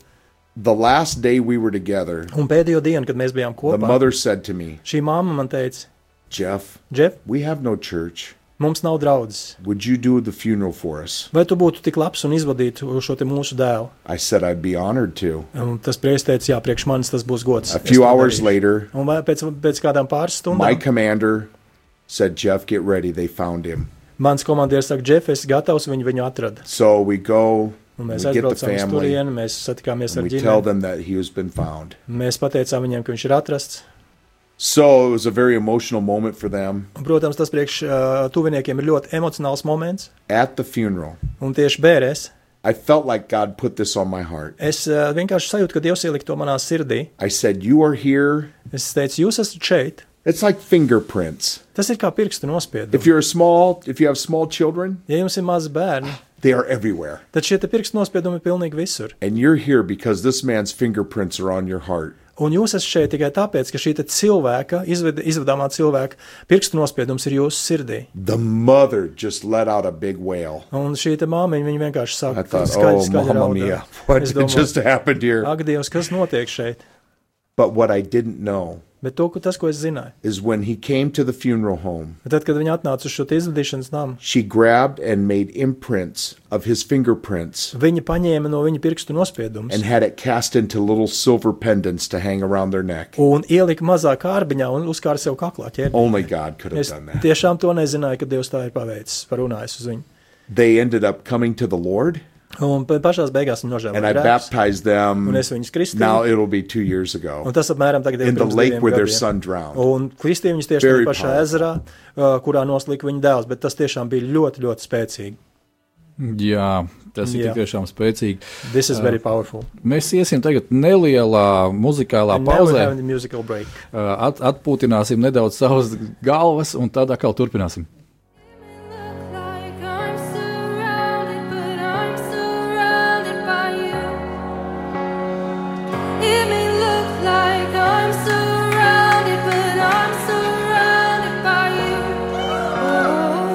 S4: The last day we were together,
S6: Un pēdējo dienu, kad mēs bijām
S4: the
S6: kopā,
S4: mother said to me,
S6: šī māma man teica,
S4: Jeff,
S6: Džef,
S4: we have no church.
S6: mums nav draudzes.
S4: Would you do the funeral for us?
S6: Vai tu būtu tik labs un izvadītu šo te mūsu dēlu?
S4: I said I'd be honored to.
S6: Un tas prieks teica, jā, priekš manis tas būs gods.
S4: A
S6: Es to
S4: few hours
S6: darīšu.
S4: later,
S6: Un vai- pēc, pēc kādām pāris
S4: my
S6: stundām
S4: commander said, Jeff, get ready. They found him.
S6: mans komandieris saka, Džef, es gatavs viņu, viņu atrast.
S4: So we go,
S6: Un
S4: we
S6: mēs
S4: get the
S6: aizbraucām uz
S4: family, and
S6: turieni, mēs satikāmies ar
S4: we tell
S6: ģimeni.
S4: them that he has been found.
S6: Mēs pateicām viņiem, ka viņš ir atrasts.
S4: So it was a very emotional moment for them.
S6: Un, protams, tas priekš uh, tuviniekiem ir ļoti emocionāls moments.
S4: At the funeral,
S6: Un tieši bērēs
S4: I felt like God put this on my heart.
S6: Es eh, vienkārši sajūtu, ka Dievs ielika to manā sirdī.
S4: I said, You are here.
S6: Es teicu, jūs esat šeit.
S4: It's like fingerprints.
S6: Tas ir kā pirkstu
S4: If
S6: nospiedums.
S4: you're a small, if you have small children,
S6: Ja jums ir mazi bērni,
S4: they are everywhere.
S6: tad šie te pirkstu nospiedumi ir pilnīgi visur.
S4: And you're here because this man's fingerprints are on your heart.
S6: Un jūs esat šeit tikai tāpēc, ka šī te cilvēka, izved, izvadāmā cilvēka pirkstu nospiedums ir jūsu sirdī.
S4: The mother just let out a big wail.
S6: Un šī te māmiņa viņa vienkārši
S4: I
S6: saka, ka
S4: thought,
S6: skaļi,
S4: oh,
S6: skaļi
S4: mamma
S6: raud.
S4: mia, what
S6: Es
S4: just
S6: domāju,
S4: happened here?
S6: ak, Dievs, kas notiek šeit?
S4: But what I didn't know
S6: Bet to, ko- tas, ko es zināju,
S4: is when he came to the funeral home,
S6: tad, kad viņi atnāca uz šo te izvadīšanas namu,
S4: she grabbed and made imprints of his fingerprints
S6: viņi paņēma no viņa pirkstu nospiedumus.
S4: and had it cast into little silver pendants to hang around their neck.
S6: un ielika mazā kārbiņā un uzkāra sev kaklā. Ķēdi.
S4: Only God could have
S6: Es
S4: Oh, done that.
S6: tiešām to nezināju, kad Dievs tā ir paveicis, parunājis uz viņu.
S4: They ended up coming to the Lord,
S6: Un pa- pašās beigās viņa
S4: and I
S6: nožēloja. grēkus.
S4: baptized them.
S6: Un es viņus kristīju.
S4: Now it'll be two years
S6: Un
S4: ago.
S6: tas apmēram tagad ir
S4: In the
S6: pirms
S4: lake
S6: diviem
S4: where their
S6: gadiem.
S4: son drowned.
S6: Un kristīja viņus tieši
S4: Very
S6: tajā pašā
S4: powerful.
S6: ezerā, uh, kurā noslika viņa dēls, bet tas tiešām bija ļoti, ļoti spēcīgi.
S3: Jā, tas ir
S6: Jā.
S3: tik tiešām spēcīgi.
S6: This is very powerful.
S3: Mēs iesim tagad nelielā muzikālā
S6: And now we
S3: pauzē,
S6: have the musical break.
S3: uh, at, atpūtināsim nedaudz savas galvas un tad atkal turpināsim.
S7: Look like I'm surrounded, but I'm surrounded by you. It may look like I'm surrounded, but I'm surrounded by you. Oh,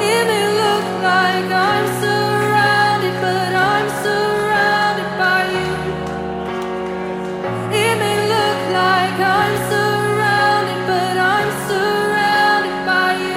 S7: It may look like I'm surrounded, but I'm surrounded by you. It may look like I'm surrounded, but I'm surrounded by you.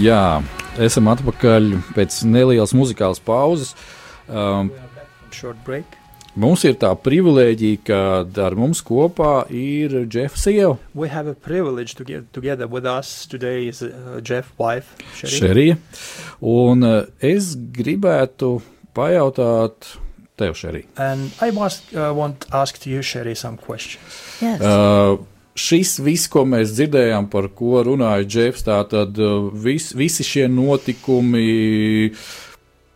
S3: Jā, esam atpakaļ pēc nelielas muzikālas pauzes. Um,
S6: Short break.
S3: mums ir tā privilēģija, ka ar mums kopā ir Jeffs sieva,
S6: We have a privilege to get together with us today is uh, Jeff wife. Sherry.
S3: Šerija. Un uh, es gribētu pajautāt tev, Šerija.
S6: And I must uh, want to ask you, Sherry, some questions.
S5: Yes.
S3: Uh, Šis viss, ko mēs dzirdējām, par ko runāja Džefs, tātad uh, vis, visi šie notikumi,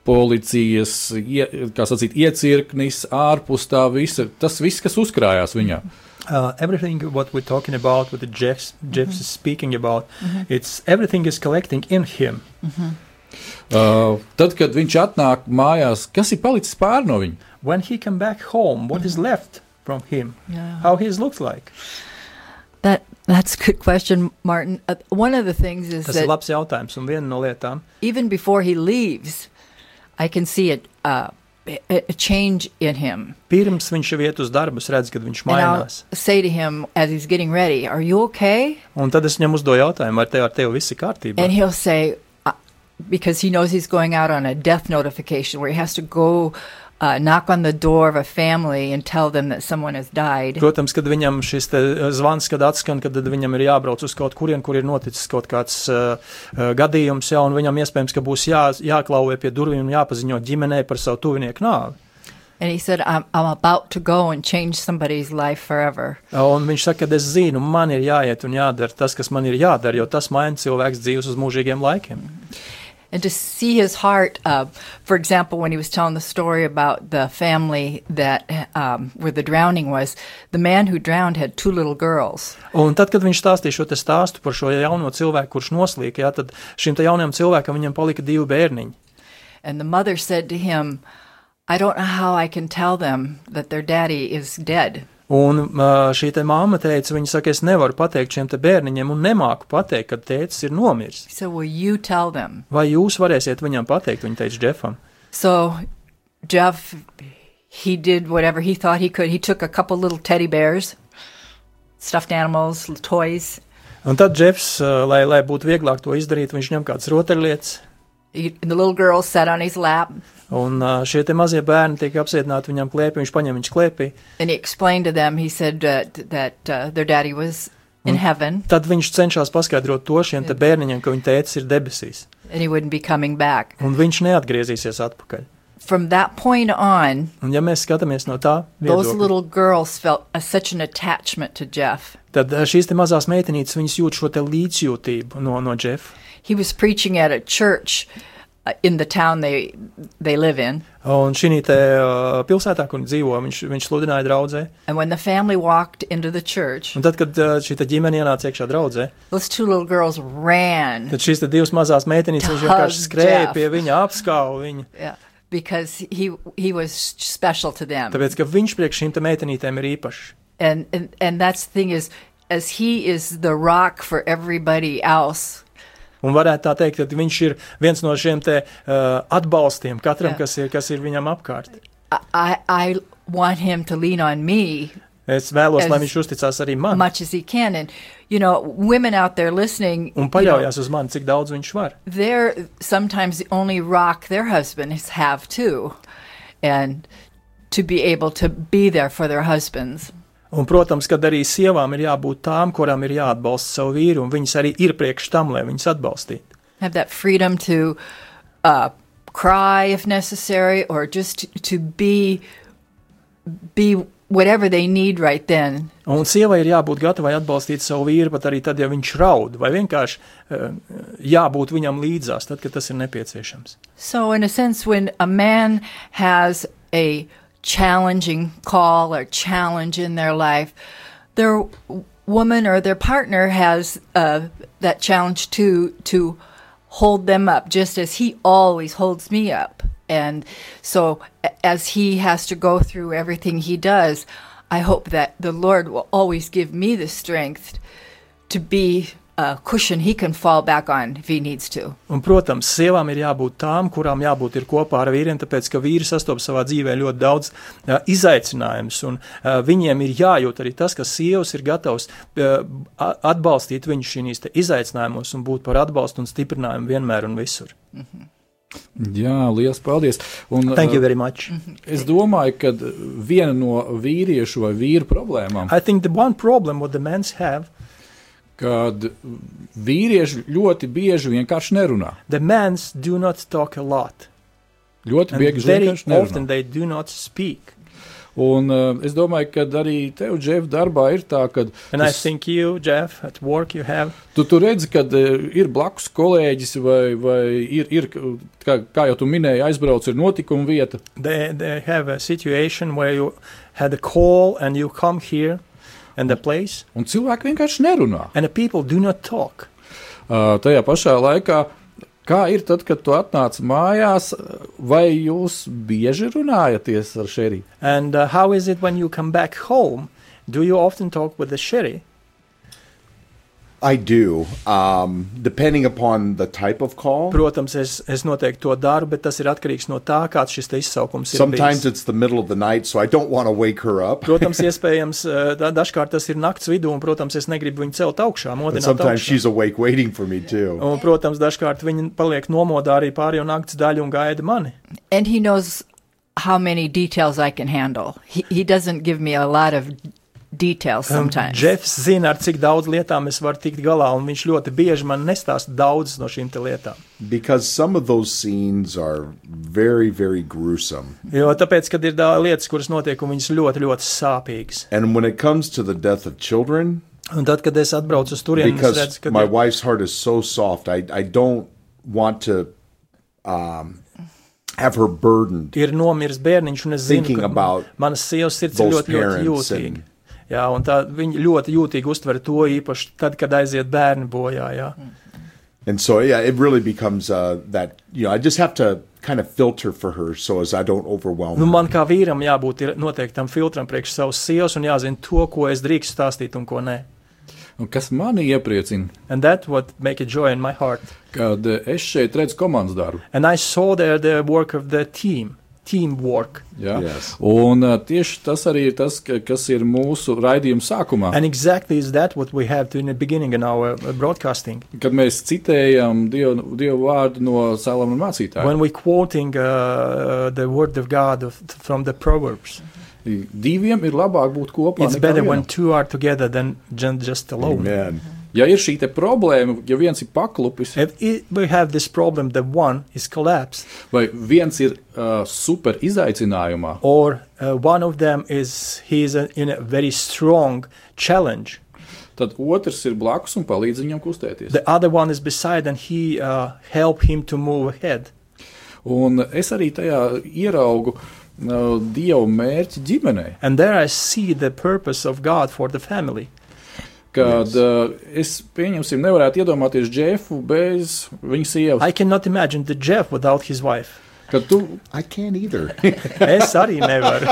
S3: policijas ie, kā sacīt, iecirknis, ārpus tā visa, tas viss, kas uzkrājās viņā.
S6: Uh, everything what we're talking about, what the Jeff's, Jeff's is speaking about, it's everything is collecting in him.
S3: Uh, tad, kad viņš atnāk mājās, kas ir palicis pāri no viņa?
S6: When he come back home, what is left from him?
S5: Yeah.
S6: How he looks like?
S5: that that's a good question, Martin. Uh, one of the things is
S6: Tas ir
S5: that
S6: labs jautājums un viena no lietām.
S5: even before he leaves, I can see it, uh, a, a change in him.
S6: Pirms viņš jau iet uz darbu, es redzu, kad viņš
S5: And I'll
S6: mainās.
S5: say to him as he's getting ready, "Are you okay?"
S6: Un tad es viņam uzdodu jautājumu, vai tev ar tevi viss ir kārtībā?
S5: And he'll say, uh, because he knows he's going out on a death notification where he has to go uh, knock on the door of a family and tell them that someone has died.
S6: Protams, kad viņam šis te, eh, zvans, kad atskan, kad tad viņam ir jābrauc uz kaut kurien, kur ir noticis kaut kāds uh, gadījums, jā, un viņam iespējams, ka būs jā, jāklauvē pie durvīm un jāpaziņo ģimenei par savu tuvinieku nāvi.
S5: And he said, I'm, I'm about to go and change somebody's life forever.
S6: Un viņš saka, ka es zinu, man ir jāiet un jādara tas, kas man ir jādara, jo tas maina cilvēks dzīves uz mūžīgiem laikiem.
S5: And to see his heart, uh, for example, when he was telling the story about the family that um, where the drowning was, the man who drowned had two little girls.
S6: Un tad, kad viņš stāstīja šo te stāstu par šo jauno cilvēku, kurš noslīka, jā, tad šim te jaunajam cilvēkam viņam palika divi bērniņi.
S5: And the mother said to him, I don't know how I can tell them that their daddy is dead.
S6: Un ā, šī te māma teica, viņa saka, es nevaru pateikt šiem te bērniņiem un nemāku pateikt, ka tēcis ir nomiris.
S5: He said, Well, you tell them.
S6: Vai jūs varēsiet viņam pateikt, viņa teica Džefam.
S5: So Jeff, he did whatever he thought he could. He took a couple little teddy bears, stuffed animals, l- toys.
S6: Un tad Džefs, ā, lai, lai būtu vieglāk to izdarīt, viņš ņem kādas rotaļlietas,
S5: He- and the little girl sat on his lap,
S6: un ā, šie te mazie bērni tiek apcietināti viņam klēpī, viņš paņem viņš klēpī.
S5: and he explained to them. He said uh, t- that uh, their daddy was in heaven
S6: Tad viņš cenšas paskaidrot to šiem te bērniņiem, ka viņa tēcis ir debesīs,
S5: and he wouldn't be coming back.
S6: un viņš neatgriezīsies atpakaļ.
S5: From that point on,
S6: Un ja mēs skatāmies no tā,
S5: those
S6: viedokļa,
S5: little girls felt a, such an attachment to Jeff.
S6: tad ā, šīs te mazās meitenītes, viņas jūt šo te līdzjūtību no, no Džefa.
S5: He was preaching at a church uh, in the town they they live in.
S6: Un šī eh, pilsētā, kur viņi dzīvo, viņš, viņš sludināja draudzē.
S5: And when the family walked into the church,
S6: Un tad, kad ā, šī te ģimene ienāca iekšā draudzē,
S5: those two little girls ran
S6: tad šīs te divas mazās meitenes
S5: Tās,
S6: vienkārši skrēja
S5: Jeff.
S6: pie viņa, apskauja viņu.
S5: Yeah, because he he was special to them,
S6: Tāpēc, ka viņš priekš šīm te meitenītēm ir īpašs.
S5: and, and and that's the thing is, as he is the rock for everybody else,
S6: Un varētu tā teikt, ka viņš ir viens no šiem te uh, atbalstiem katram,
S5: Jā.
S6: kas ir, kas ir viņam apkārt.
S5: I I, I want him to lean on me
S6: Es vēlos,
S5: Es-
S6: lai viņš uzticās arī man
S5: much as he can, and you know, women out there listening, you
S6: un
S5: know,
S6: paļaujas uz mani, cik daudz viņš var.
S5: they're sometimes the only rock their husbands have too, and to be able to be there for their husbands.
S6: Un, protams, kad arī sievām ir jābūt tām, kurām ir jāatbalsta savu vīru, un viņas arī ir priekš tam, lai viņas atbalstītu.
S5: have that freedom to uh, cry if necessary or just to, to be be whatever they need right then
S6: Un sievai ir jābūt gatavai atbalstīt savu vīru, pat arī tad, ja viņš raud, vai vienkārši eh, jābūt viņam līdzās, tad, kad tas ir nepieciešams.
S5: so in a sense when a man has a challenging call or challenge in their life their w- woman or their partner has uh, that challenge to to hold them up just as he always holds me up and so a- as he has to go through everything he does i hope that the lord will always give me the strength to be uh, cushion he can fall back on if he needs to.
S6: Un, protams, sievām ir jābūt tām, kurām jābūt ir kopā ar vīriem, tāpēc ka vīri sastopas savā dzīvē ļoti daudz uh, izaicinājumus. Un, uh, viņiem ir jājūt arī tas, ka sievas ir gatavas uh, a- atbalstīt viņu šīs izaicinājumos un būt par atbalstu un stiprinājumu vienmēr un visur.
S3: Jā, liels paldies. Un,
S6: Thank you
S3: uh,
S6: very much.
S3: es domāju, ka viena no vīriešu vai vīru problēmām
S6: I think the one problem what the men have,
S3: kad vīrieši ļoti bieži vienkārši nerunā.
S6: the men do not talk a lot.
S3: Ļoti
S6: And
S3: bieži
S6: very
S3: vienkārši nerunā.
S6: often they do not speak.
S3: Un, uh, es domāju, ka arī tev, Džef, darbā ir tā, ka
S6: And I think you, Jeff, at work you have
S3: tu, tu redzi, ka uh, ir blakus kolēģis vai, vai ir, ir kā, kā jau tu minēji, aizbrauc ir notikuma vieta.
S6: they they have a situation where you had a call and you come here and the place
S3: Un cilvēki vienkārši nerunā.
S6: and the people do not talk
S3: Uh, tajā pašā laikā, kā ir tad, kad tu atnāc mājās, uh, vai jūs bieži runājaties ar šeriju?
S6: and uh, how is it when you come back home do you often talk with the sherry
S4: I do, um, depending upon the type of call.
S6: protams es, es noteikti to daru bet tas ir atkarīgs no tā kāds šis te izsaukums ir
S4: Sometimes
S6: bijis.
S4: it's the middle of the night, so I don't want to wake her up.
S6: protams iespējams uh, da- dažkārt tas ir nakts vidū un protams es negribu viņu celt augšā
S4: And
S6: modināt
S4: sometimes
S6: augšā.
S4: she's awake waiting for me too.
S6: Un, protams, dažkārt viņi paliek nomodā arī pārējo nakts daļu un gaida mani.
S5: And he knows how many details I can handle. He, he doesn't give me a lot of details sometimes.
S6: Džefs zina, ar cik daudz lietām es varu tikt galā, un viņš ļoti bieži man nestāsta daudz no šīm te lietām.
S4: Because some of those scenes are very, very gruesome.
S6: Jo tāpēc, kad ir dā- lietas, kuras notiek, un viņas ļoti, ļoti sāpīgas.
S4: And when it comes to the death of children,
S6: Un tad, kad es atbraucu uz turieni, es redzu,
S4: because
S6: ka
S4: my
S6: ir-
S4: wife's heart is so soft, I, I don't want to um, have her burdened.
S6: ir nomiris bērniņš, un es zinu,
S4: Thinking
S6: ka
S4: about
S6: manas sievas sirds ir
S4: those
S6: ļoti, ļoti
S4: parents
S6: jūtīga.
S4: and-
S6: Jā, un tā viņi ļoti jūtīgi uztver to īpaši tad, kad aiziet bērni bojā. Jā.
S4: And so, yeah, it really becomes uh, that, you know, I just have to kind of filter for her so as I don't overwhelm
S6: Nu,
S4: her.
S6: man kā vīram jābūt ir noteiktam filtram priekš savas sievas un jāzina to, ko es drīkstu stāstīt un ko nē.
S3: Un kas mani iepriecina,
S6: And that what make a joy in my heart.
S3: kad uh, es šeit redzu komandas darbu.
S6: And I saw there the work of the team, teamwork.
S3: Ja?
S4: Yes.
S3: Un uh, tieši tas arī ir tas, ka, kas ir mūsu raidījuma sākumā,
S6: And exactly is that what we have to in the beginning in our uh, broadcasting.
S3: kad mēs citējam Dievu, dievu vārdu no Salamana mācītāja.
S6: When we're quoting uh, uh, the word of God of, from the Proverbs,
S3: Diviem ir labāk būt kopā.
S6: it's
S3: nekā
S6: better
S3: vienam.
S6: when two are together than ju- just alone.
S4: Amen.
S3: Ja ir šī te problēma, ja viens ir paklupis,
S6: If i we have this problem that one is collapsed
S3: vai viens ir uh, super izaicinājumā,
S6: or uh, one of them is he is uh, in a very strong challenge,
S3: tad otrs ir blakus un palīdz viņam kustēties.
S6: the other one is beside and he uh, help him to move ahead.
S3: Un es arī tajā ieraugu uh, dievu mērķi ģimenei,
S6: And there I see the purpose of God for the family.
S3: kad uh, es pieņemsim, nevarētu iedomāties Džefu bez viņa sievas.
S6: I cannot imagine the Jeff without his wife.
S3: Kad tu,
S4: I can't either.
S6: Es arī nevaru.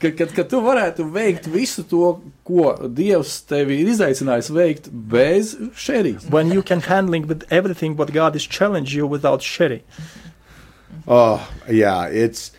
S3: kad, kad, kad tu varētu veikt visu to, ko dievs tevi ir izaicinājis veikt bez šerijas.
S6: When you can handling with everything what God is challenge you without Sherry.
S4: Oh, yeah, it's.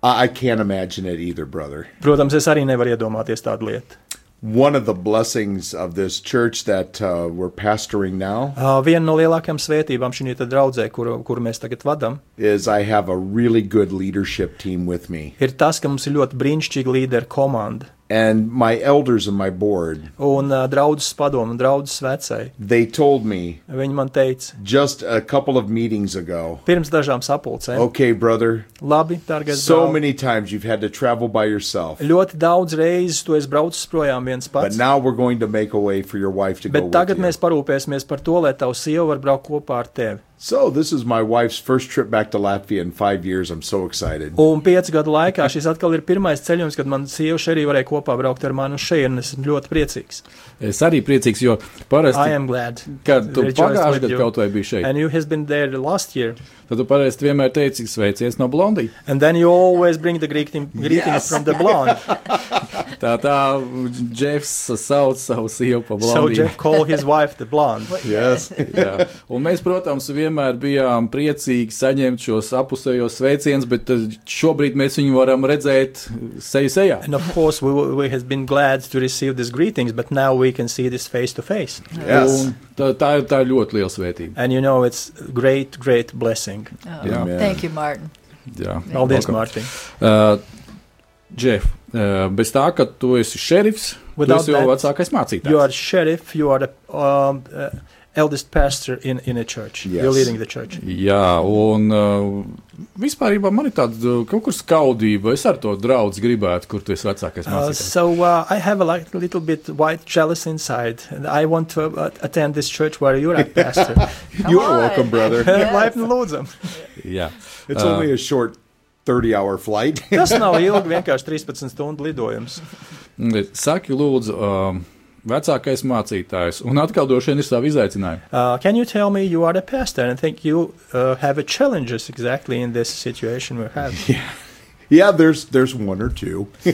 S4: I I can't imagine it either, brother.
S6: Protams, es arī nevaru iedomāties tādu lietu.
S4: One of the blessings of this church that uh, we're pastoring now
S6: Uh, viena no lielākajām svētībām šī te draudzē, kuru, kuru mēs tagad vadām,
S4: is I have a really good leadership team with me,
S6: ir tas, ka mums ir ļoti brīnišķīga līderu komanda.
S4: and my elders and my board.
S6: Un uh, draudzes padomu, un draudzes vecai.
S4: They told me
S6: Viņi man teica,
S4: just a couple of meetings ago.
S6: pirms dažām sapulcēm,
S4: Okay,
S6: okay.
S4: brother.
S6: labi, dārgais,
S4: So
S5: uh,
S6: draugs,
S4: many times you've had to travel by yourself,
S6: ļoti daudz reizes tu esi braucis projām viens
S4: but
S6: pats.
S4: now we're going to make a way for your wife to go
S6: Bet
S4: with
S6: tagad mēs
S4: you.
S6: parūpēsimies par to, lai tavs sieva var braukt kopā ar tevi.
S4: So this is my wife's first trip back to Latvia in five years. I'm so excited.
S5: Oh.
S6: Un piecu gadu laikā šis atkal ir pirmais ceļojums, kad man sieva arī varēja kopā braukt ar mani uz šejienu. Es esmu ļoti priecīgs.
S3: Es arī priecīgs, jo
S6: I
S3: parasti,
S6: am glad.
S3: kad tu
S6: Rejoiced
S3: pagājušajā
S6: with
S3: gadā
S6: you.
S3: kaut vai biji šeit,
S6: And you has been there last year.
S3: Tad tu parasti vienmēr teici, sveicies no blondijas.
S6: And then you always bring the greeting, greeting
S4: Yes.
S6: from the blonde.
S3: Tā tā Jeffs sauc savu sievu par
S6: So
S3: blondīnu.
S6: Jeff called his wife the blonde.
S4: Yes.
S3: Jā. Un mēs, protams, vienmēr bijām priecīgi saņemt šos apusējos sveicienus, bet eh, šobrīd mēs viņu varam redzēt seju sejā.
S6: And of course, we, we has been glad to receive these greetings, but now we can see this face to face.
S4: Yes.
S3: Un Tā, tā, ir, tā ir ļoti liela svētība.
S6: And you know, it's great, great blessing.
S5: Oh,
S3: Jā.
S5: Thank you, Martin.
S3: Jā.
S6: Paldies,
S3: Welcome.
S6: Mārtiņ.
S3: Uh, Džef, uh, bez tā, ka tu esi šerifs, tu
S6: Without
S3: esi jau
S6: that,
S3: vecākais mācītājs.
S6: You are sheriff, you are the um, uh, eldest pastor in, in a church. You're
S4: Yes.
S6: leading the church.
S3: Jā, un uh, vispār jau man ir tāda uh, kaut kur skaudība. Es ar to draugu gribētu, kur tu esi vecākais
S6: Uh,
S3: mācītājs.
S6: so uh, I have a like, little bit white jealous inside, and I want to uh, attend this church where you're at, pastor.
S4: You
S5: Come
S4: are
S5: on.
S4: welcome, brother.
S6: Life in Lūdzam.
S3: Jā,
S4: It's only a short 30 hour flight.
S6: Tas nav ilgi, vienkārši 13 stundu lidojums.
S3: Bet Saki, lūdzu, um, vecākais mācītājs, un atkal droši vien ir savi izaicinājumi.
S6: Uh, can you tell me you are the pastor? And I think you uh, have a challenges exactly in this situation we have.
S4: Yeah, there's there's one or two.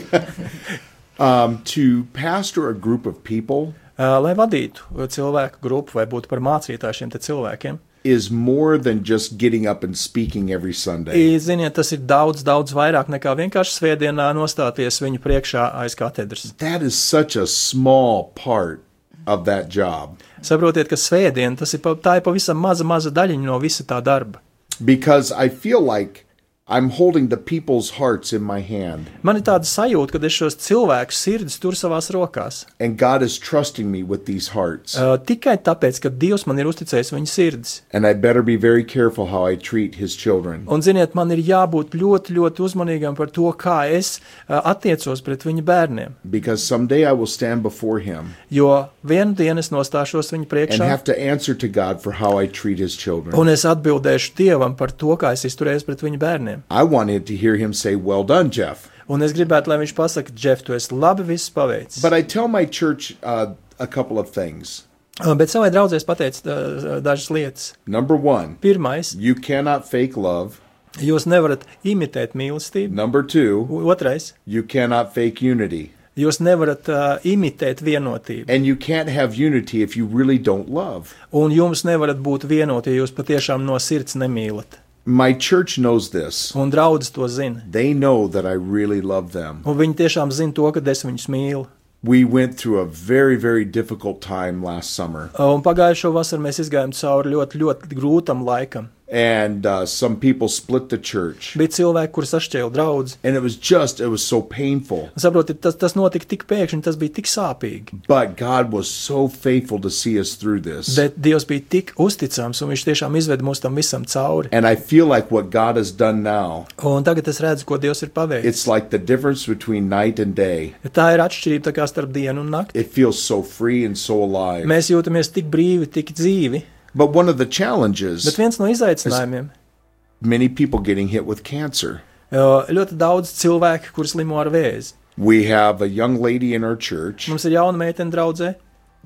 S4: um, to pastor a group of people
S6: Uh, lai vadītu uh, cilvēku grupu vai būtu par mācītāju šiem te cilvēkiem,
S4: is more than just getting up and speaking every Sunday.
S6: I, ziniet, tas ir daudz, daudz vairāk nekā vienkārši svētdienā nostāties viņu priekšā aiz katedras.
S4: That is such a small part of that job
S6: Saprotiet, ka svētdiena tas ir, pa- tā ir pavisam maza, maza daļiņa no visa tā darba.
S4: because I feel like I'm holding the people's hearts in my hand
S6: Man ir tāda sajūta, ka es šos cilvēkus sirdis turu savās rokās.
S4: and God is trusting me with these hearts.
S6: Uh, tikai tāpēc, ka Dievs man ir uzticējis viņa sirdis.
S4: and I better be very careful how I treat his children.
S6: Un, ziniet, man ir jābūt ļoti, ļoti uzmanīgam par to, kā es uh, attiecos pret viņa bērniem.
S4: Because someday I will stand before him
S6: Jo vienu dienu es nostāšos viņa
S4: and
S6: priekšā,
S4: have to answer to God for how I treat his children.
S6: un es atbildēšu Dievam par to, kā es izturējos pret viņa bērniem.
S4: I wanted to hear him say, Well done, Jeff.
S6: Un es gribētu, lai viņš pasakā, Džef, tu esi labi viss paveicis.
S4: But I tell my church uh, a couple of things.
S6: Uh, Bet savai draudzē es pateicu uh, dažas lietas.
S4: Number one,
S6: Pirmais,
S4: you cannot fake love.
S6: jūs nevarat imitēt mīlestību.
S4: Number two,
S6: O- Otrais,
S4: you cannot fake unity.
S6: jūs nevarat uh, imitēt vienotību.
S4: And you can't have unity if you really don't love.
S6: Un jums nevarat būt vienoti, ja jūs patiešām no sirds nemīlat.
S4: My church knows this.
S6: Un draugs to zina.
S4: They know that I really love them.
S6: Un viņi tiešām zina to, ka es viņus mīlu.
S4: We went through a very, very difficult time last summer.
S6: Un pagājušo vasaru mēs gājām cauri ļoti, ļoti grūtam laikam.
S4: And uh, some people split the church.
S6: Bija cilvēki, kuri sašķēla draugus.
S4: And it was just, it was so painful.
S6: Saprotiet, tas, tas notika tik pēkšņi, tas bija tik sāpīgi.
S4: But God was so faithful to see us through this.
S6: Bet Dievs bija tik uzticams, un Viņš tiešām izved mūs tam visam cauri.
S4: And I feel like what God has done now,
S6: Un tagad es redzu, ko Dievs ir paveicis.
S4: it's like the difference between night and day.
S6: Tā ir atšķirība tā kā starp dienu un nakti.
S4: It feels so free and so alive.
S6: Mēs jūtamies tik brīvi, tik dzīvi.
S4: But one of the
S6: Bet
S4: challenges
S6: viens no izaicinājumiem
S4: many people getting hit with cancer.
S6: jo ļoti daudz cilvēku, kurus limo ar vēzi.
S4: We have a young lady in our church.
S6: Mums ir jauna meitene draudzē.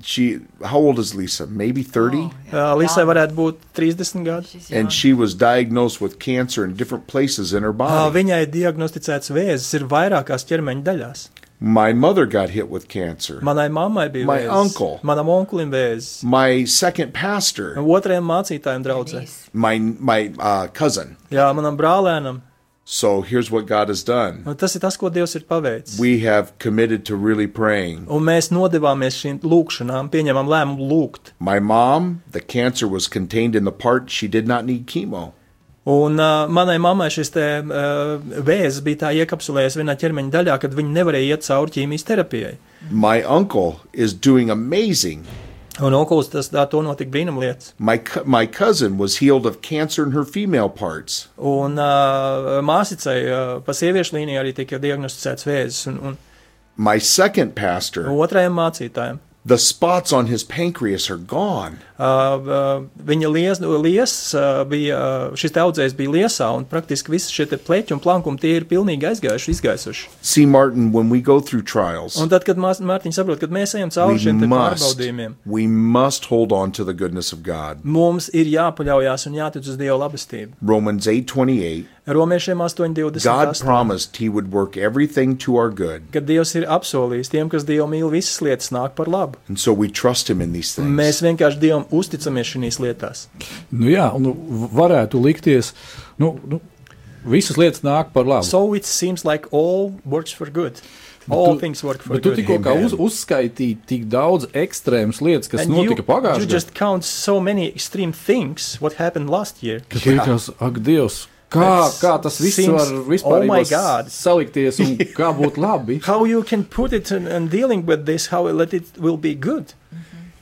S4: She how old is Lisa? Maybe 30?
S6: Uh, Līsai varētu būt 30 gadi.
S5: She's young.
S4: And she was diagnosed with cancer in different places in her
S6: Uh,
S4: body.
S6: Viņai diagnosticēts vēzis ir vairākās ķermeņa daļās.
S4: My mother got hit with cancer.
S6: Manai mammai bija
S4: My
S6: vēzis,
S4: uncle.
S6: manam onkulim vēzis,
S4: My second pastor,
S6: otrajam mācītājam draudzē.
S5: Denise.
S4: my my uh, cousin.
S6: Jā, manam brālēnam.
S4: So here's what God has done.
S6: Un tas ir tas, ko Dievs ir paveicis.
S4: We have committed to really praying.
S6: Un mēs nodevāmies šīm lūkšanām, pieņemam lēmumu lūgt.
S4: My mom, the cancer was contained in the part she did not need chemo.
S6: Un uh, manai mammai šis te, uh, vēzis bija tā iekapsulējies vienā ķermeņa daļā, kad viņa nevarēja iet cauri ķīmijas terapijai.
S4: My uncle is doing amazing.
S6: Un onkulis tas tā, to notika brīnumlietas.
S4: My co- my cousin was healed of cancer in her female parts.
S6: Un uh, māsicai uh, pa sieviešu līniju arī tika diagnosticēts vēzis. Un, un
S4: My second pastor
S6: otrajam mācītājam
S4: The spots on his pancreas are gone.
S6: Uh, uh, viņa lies, lies, uh, bija, uh, šis audzējs bija liesā, un praktiski visi šie te pleķi un plankumi tie ir pilnīgi aizgājuši, izgaisuši.
S4: See, Martin, when we go through trials,
S6: Un tad, kad Mās- Mārtiņš saprot, kad mēs ejam
S4: we
S6: cauri šiem te
S4: must,
S6: pārbaudījumiem,
S4: we must hold on to the goodness of God.
S6: mums ir jāpaļaujas un jātic uz Dieva labestību.
S4: Romans 8:28.
S6: Romiešiem 8,20.
S4: God
S6: tas,
S4: promised he would work everything to our good,
S6: Kad Dievs ir apsolījis tiem, kas Dievu mīl, visas lietas nāk par labu.
S4: and so we trust him in these things.
S6: Mēs vienkārši Dievam uzticamies šīs lietās.
S3: Nu, jā, nu, v- varētu likties, nu, nu, visas lietas nāk par labu.
S6: So it seems like all works for good. All
S3: tu-
S6: things work for
S3: Bet tu
S6: good.
S3: tikko kā
S4: Amen.
S3: uz, uzskaitīji tik daudz ekstrēmas lietas, kas
S6: And you,
S3: notika
S6: you
S3: pagājušajā
S6: just count so many extreme things what happened last year.
S3: Kas likās, ak, Dievs, kā,
S6: It's-
S3: kā tas viss
S6: seems-
S3: var vispār
S6: oh my God.
S3: salikties un kā būt labi?
S6: How you can put it and, and dealing with this, how let it will be good.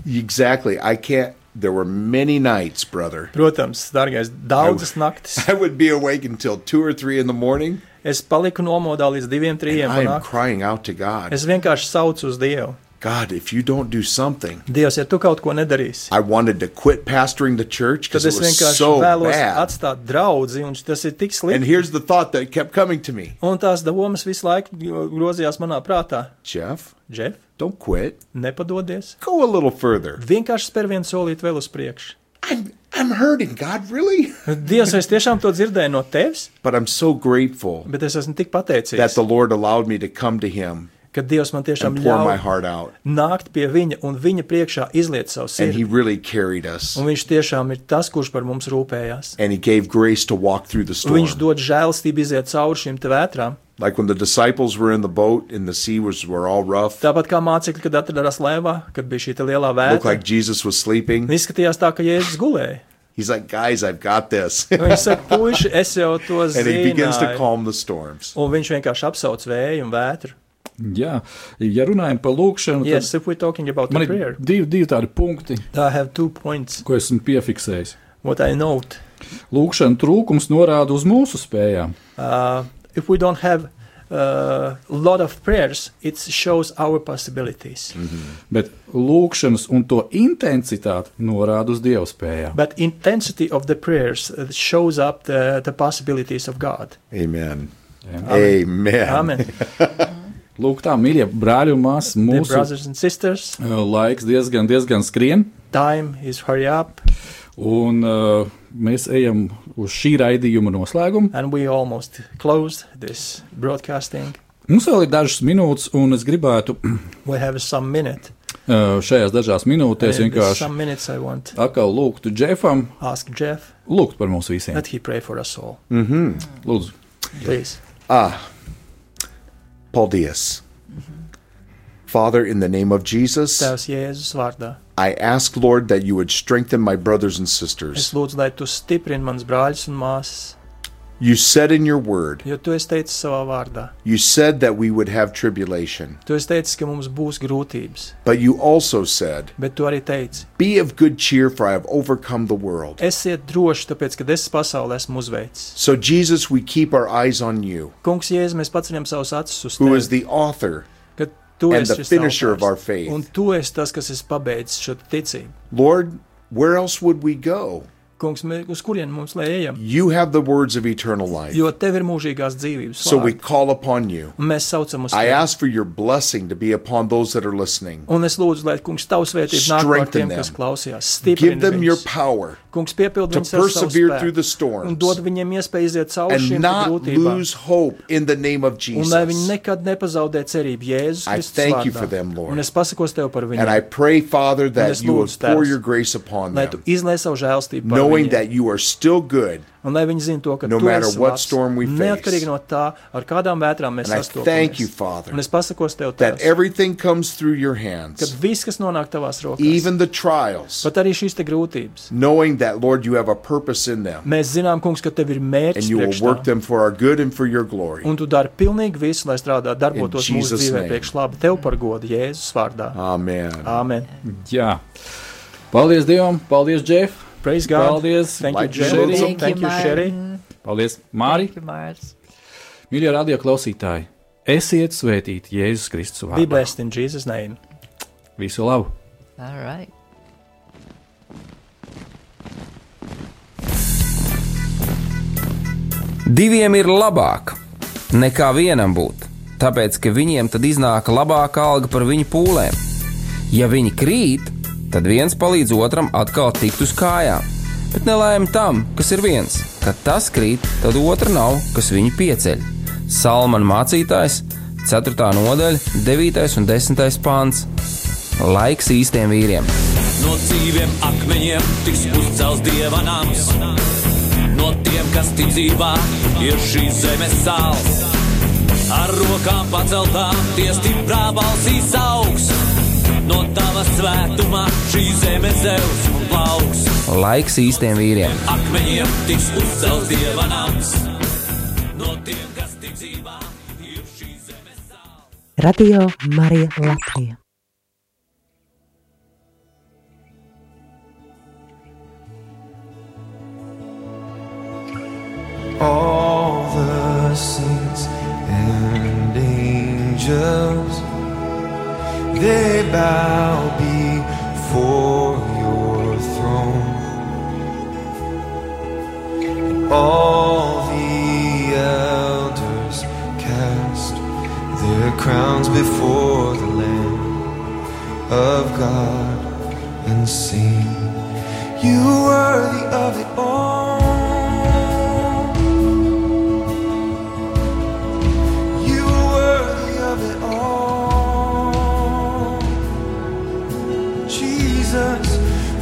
S4: Exactly. I can't. There were many nights, brother.
S6: Protams, dārgais, daudzas naktis.
S4: I would be awake until two or three in the morning.
S6: Es paliku nomodā līdz diviem, trijiem
S4: I am
S6: panākt.
S4: crying out to God.
S6: Es vienkārši saucu uz Dievu.
S4: God, if you don't do something,
S6: Dievs, ja tu kaut ko nedarīsi,
S4: I wanted to quit pastoring the church
S6: tad
S4: because it
S6: es
S4: was
S6: vienkārši
S4: so
S6: vēlos
S4: bad.
S6: atstāt draugu, un tas ir tik
S4: And
S6: slikti.
S4: here's the thought that kept coming to me:
S6: Un tās domas visu laiku gro- grozījās manā prātā.
S4: Jeff,
S6: Džef,
S4: don't quit.
S6: nepadodies.
S4: Go a little further.
S6: Vienkārši spēr vienu solīti vēl uz priekšu.
S4: I'm I'm hurting, God, really.
S6: Dievs, es tiešām to dzirdēju no tevis,
S4: But I'm so grateful
S6: bet es esmu tik
S4: that
S6: pateicīgs,
S4: the Lord allowed me to come to Him
S6: ka Dievs man tiešām
S4: and pour my
S6: ļauj
S4: heart out.
S6: nākt pie viņa un viņa priekšā izliet savu
S4: And He
S6: sirdi.
S4: really carried us.
S6: Un viņš tiešām ir tas, kurš par mums rūpējās.
S4: And He gave grace to walk through the
S6: Un Viņš
S4: storm.
S6: dod žēlstību iziet cauri šīm te vētrām.
S4: Like when the disciples were in the boat and the sea was were all rough,
S6: Tāpat kā mācekļi, kad atradās laivā, kad bija šī te lielā
S4: looked
S6: vētra.
S4: like Jesus was sleeping.
S6: Un izskatījās tā, ka Jēzus gulēja.
S4: He's like, guys, I've got this.
S6: Un Viņš saka, puiši, es jau to
S4: and he begins to
S6: zinu.
S4: calm the storms.
S6: Un viņš vienkārši apsauc vēju un vētru.
S3: Jā, ja runājam par lūkšanu, tad
S6: Yes, if we're talking about
S3: man
S6: the
S3: ir
S6: prayer.
S3: divi, divi tādi punkti,
S6: I have two points.
S3: ko esmu piefiksējis.
S6: What I note,
S3: Lūkšana trūkums norāda uz mūsu spējām.
S6: uh, if we don't have a uh, lot of prayers, it shows our possibilities.
S4: Mm-hmm.
S3: Bet lūkšanas un to intensitāti norāda uz dievspējām.
S6: But intensity of the prayers uh, shows up the, the possibilities of God.
S4: Amen.
S3: Amen.
S4: Amen.
S6: Amen.
S3: Lūk, tā, mīļie brāļi un māsas,
S6: Dear
S3: mūsu
S6: brothers and sisters,
S3: eh, laiks diezgan, diezgan skrien,
S6: time is hurry up,
S3: un eh, mēs ejam uz šī raidījuma noslēgumu.
S6: and we almost closed this broadcasting.
S3: Mums vēl ir dažas minūtes, un es gribētu
S6: We have some minute.
S3: eh, šajās dažās minūtēs
S6: And in this
S3: vienkārši
S6: some minutes I want
S3: atkal lūgtu Džefam,
S6: ask Jeff
S3: lūgt par mums visiem.
S6: that he pray for us all.
S4: Mm.
S3: Lūdzu,
S6: Please.
S4: Paul Diaz. Father, in the name of Jesus,
S6: Tevs Jēzus vārdā.
S4: I ask, Lord, that you would strengthen my brothers and
S6: Es
S4: sisters.
S6: lūdzu, lai tu stiprini mans brāļus un māsas,
S4: You said in your word,
S6: jo tu esi teicis savā vārdā.
S4: you said that we would have tribulation,
S6: Tu esi teicis, ka mums būs grūtības,
S4: but you also said,
S6: bet tu arī teici,
S4: Be of good cheer, for I have overcome the world.
S6: esiet droši, tāpēc, ka es pasaulē esmu uzveicis.
S4: So, Jesus, we keep our eyes on you,
S6: Kungs, Jēzus, mēs paceļam savus acis uz
S4: who is
S6: tevi,
S4: the author.
S6: ka tu
S4: and
S6: esi
S4: the
S6: šis
S4: finisher of
S6: autārs,
S4: our faith.
S6: un tu esi tas, kas es pabeidzis šo ticību.
S4: Lord, where else would we go?
S6: Kungs, mē, uz kurien mums lai ejam?
S4: You have the words of eternal life.
S6: Jo tev ir mūžīgās dzīvības.
S4: So we
S6: vārdi,
S4: call upon you.
S6: un mēs saucam uz
S4: I
S6: tevi.
S4: ask for your blessing to be upon those that are listening.
S6: Un es lūdzu, lai kungs tavs vērtība nāk par
S4: Strengthen
S6: tiem, kas
S4: them.
S6: klausījās.
S4: Give
S6: Stiprini
S4: them your
S6: viņus.
S4: power
S6: Kungs piepild
S4: to
S6: viņus ar savu
S4: persevere
S6: spēku
S4: through the
S6: un dod
S4: storms
S6: viņiem iespēju iziet cauri
S4: and
S6: šīm te
S4: not
S6: grūtībām.
S4: lose hope in the name of
S6: Un lai viņi
S4: Jesus.
S6: nekad nepazaudē cerību Jēzus
S4: I
S6: Kristus
S4: thank you
S6: vārdā.
S4: for them, Lord.
S6: Un es pasakos tev par
S4: And I
S6: viņiem,
S4: pray, Father, that
S6: es
S4: you would
S6: lūdzu, Tēvs,
S4: pour your grace upon
S6: lai tu
S4: them,
S6: izlēj savu žēlstību par
S4: knowing
S6: viņiem.
S4: that you are still good.
S6: Un lai viņi zina to, ka
S4: no
S6: tu
S4: matter
S6: esi
S4: what
S6: labs,
S4: storm we face.
S6: neatkarīgi no tā, ar kādām vētrām mēs
S4: And I thank you,
S6: sastopamies.
S4: Father,
S6: Un es pasakos tev
S4: that
S6: tēvs,
S4: everything comes through your
S6: kad
S4: hands,
S6: viss, kas nonāk tavās rokās,
S4: even the trials,
S6: pat arī šīs te grūtības,
S4: knowing that, Lord, you have a purpose in them
S6: mēs zinām, kungs, ka tev ir
S4: and
S6: mērķis
S4: you will
S6: priekš
S4: work
S6: tā.
S4: them for our good and for your glory.
S6: Un tu dari pilnīgi visu, lai strādā, darbotos mūsu
S4: Jesus'
S6: dzīvē
S4: name.
S6: priekš labi, tev par godu Jēzus vārdā.
S4: Amen.
S6: Āmen.
S3: jā. Paldies Dievam, paldies Džef,
S6: Praise God.
S3: paldies,
S6: Thank you,
S4: Like
S6: Jerry.
S3: Sherry.
S5: Thank you,
S6: Thank you, Sherry.
S3: paldies Māri.
S5: Thank you, Mars.
S3: Mīļie radio klausītāji, esiet svētīti Jēzus Kristus
S6: Be
S3: vārdā.
S6: blessed in Jesus' name.
S3: Visu labu!
S5: All right.
S2: Diviem ir labāk nekā vienam būt, tāpēc ka viņiem tad iznāk labāka alga par viņu pūlēm. Ja viņi krīt, tad viens palīdz otram atkal tikt uz kājām. Bet nelēma tam, kas ir viens. Kad tas krīt, tad otra nav, kas viņu pieceļ. Salmāna mācītājs, 4. nodaļa, 9. un 10. pāns. Laiks īstiem vīriem!
S1: No dzīviem akmeņiem tiks uzcelts dievanāms. No tiem, kas ticībā ir šīs zemes sāls. Ar rokām paceltām tie stiprā balsīs augs. No tava svētumā šī zeme zeus un plauks.
S2: Laiks īstiem vīriem!
S1: Akmeņiem tiks uzcelts dievanāms. No tiem, kas ticībā ir šīs zemes sāls.
S8: Radio Marija Latvija.
S9: all the saints and angels they bow before your throne all the elders cast their crowns before the lamb of god and sing you worthy of it all You are worthy of it all, Jesus.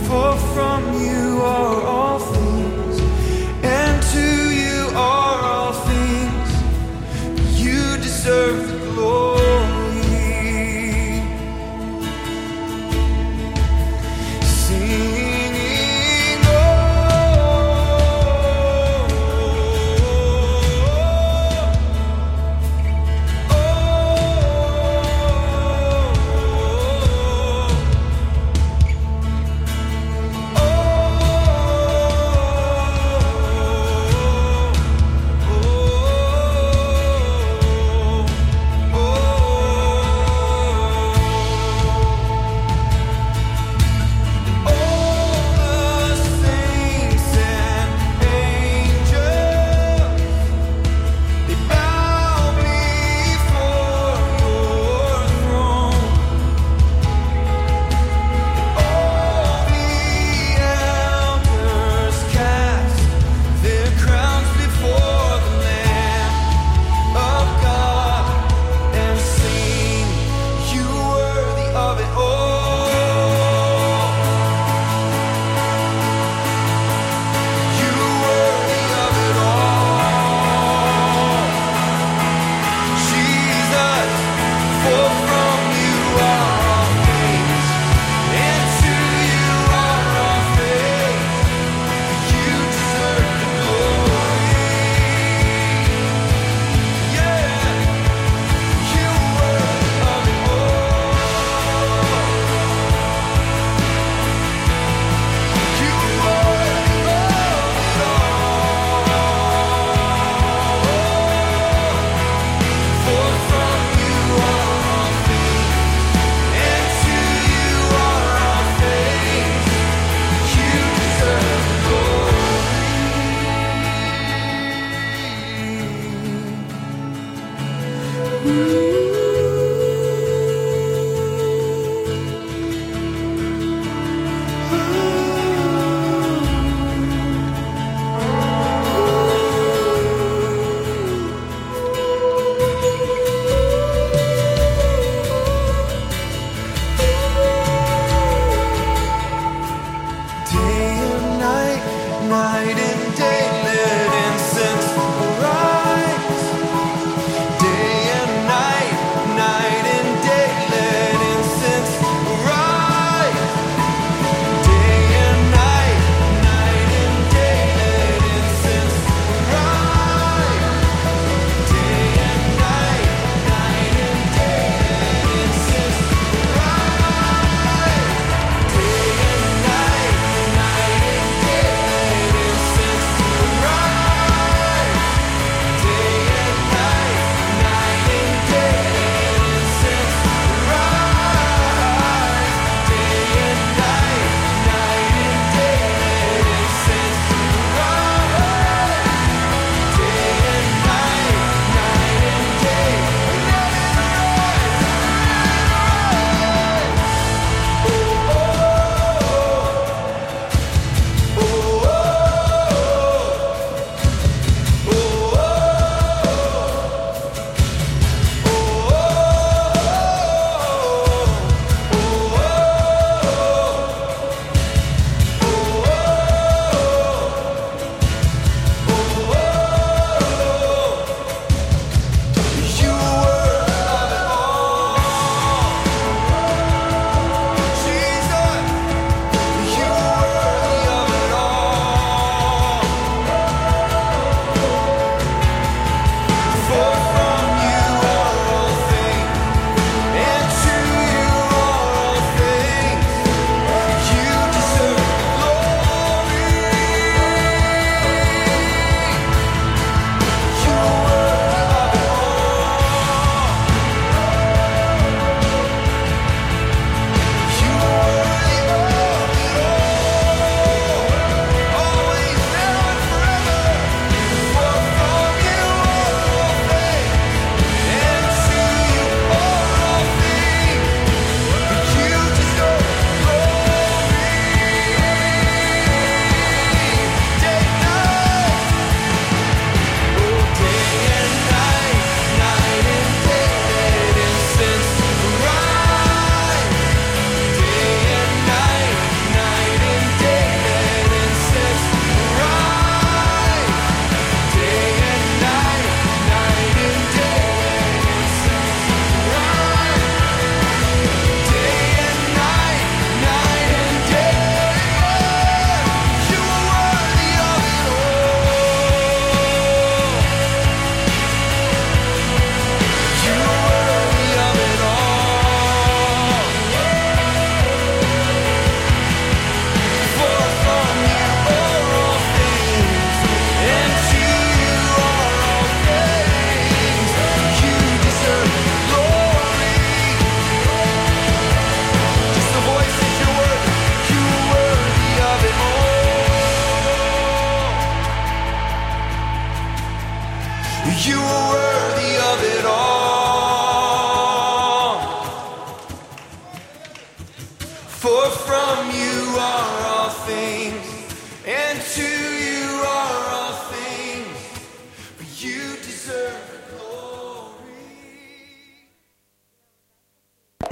S9: For from you are all things, and to you are all things. You deserve the glory. Singing, oh. Oh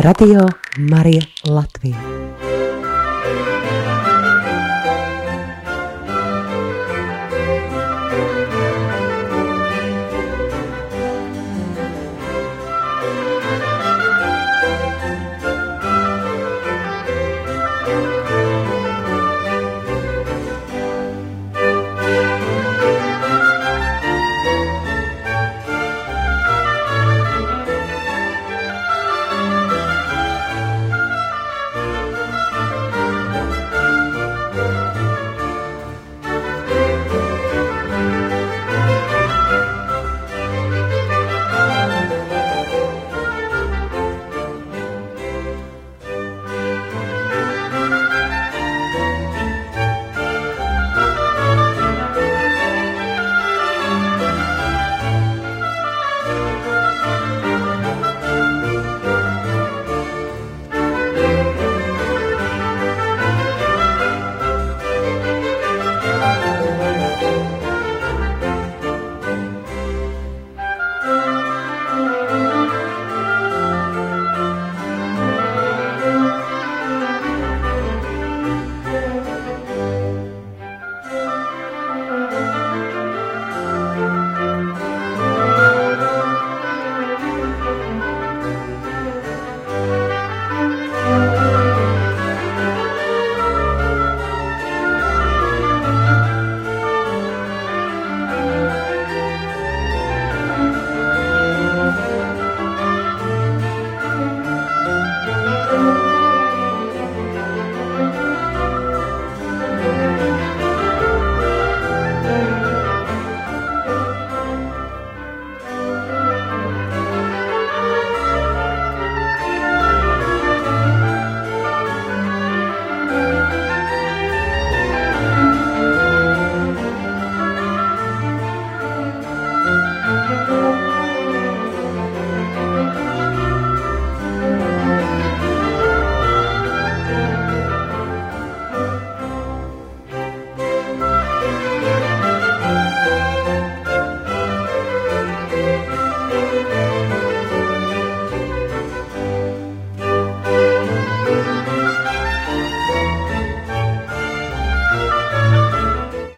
S9: Radio Marija Latvija.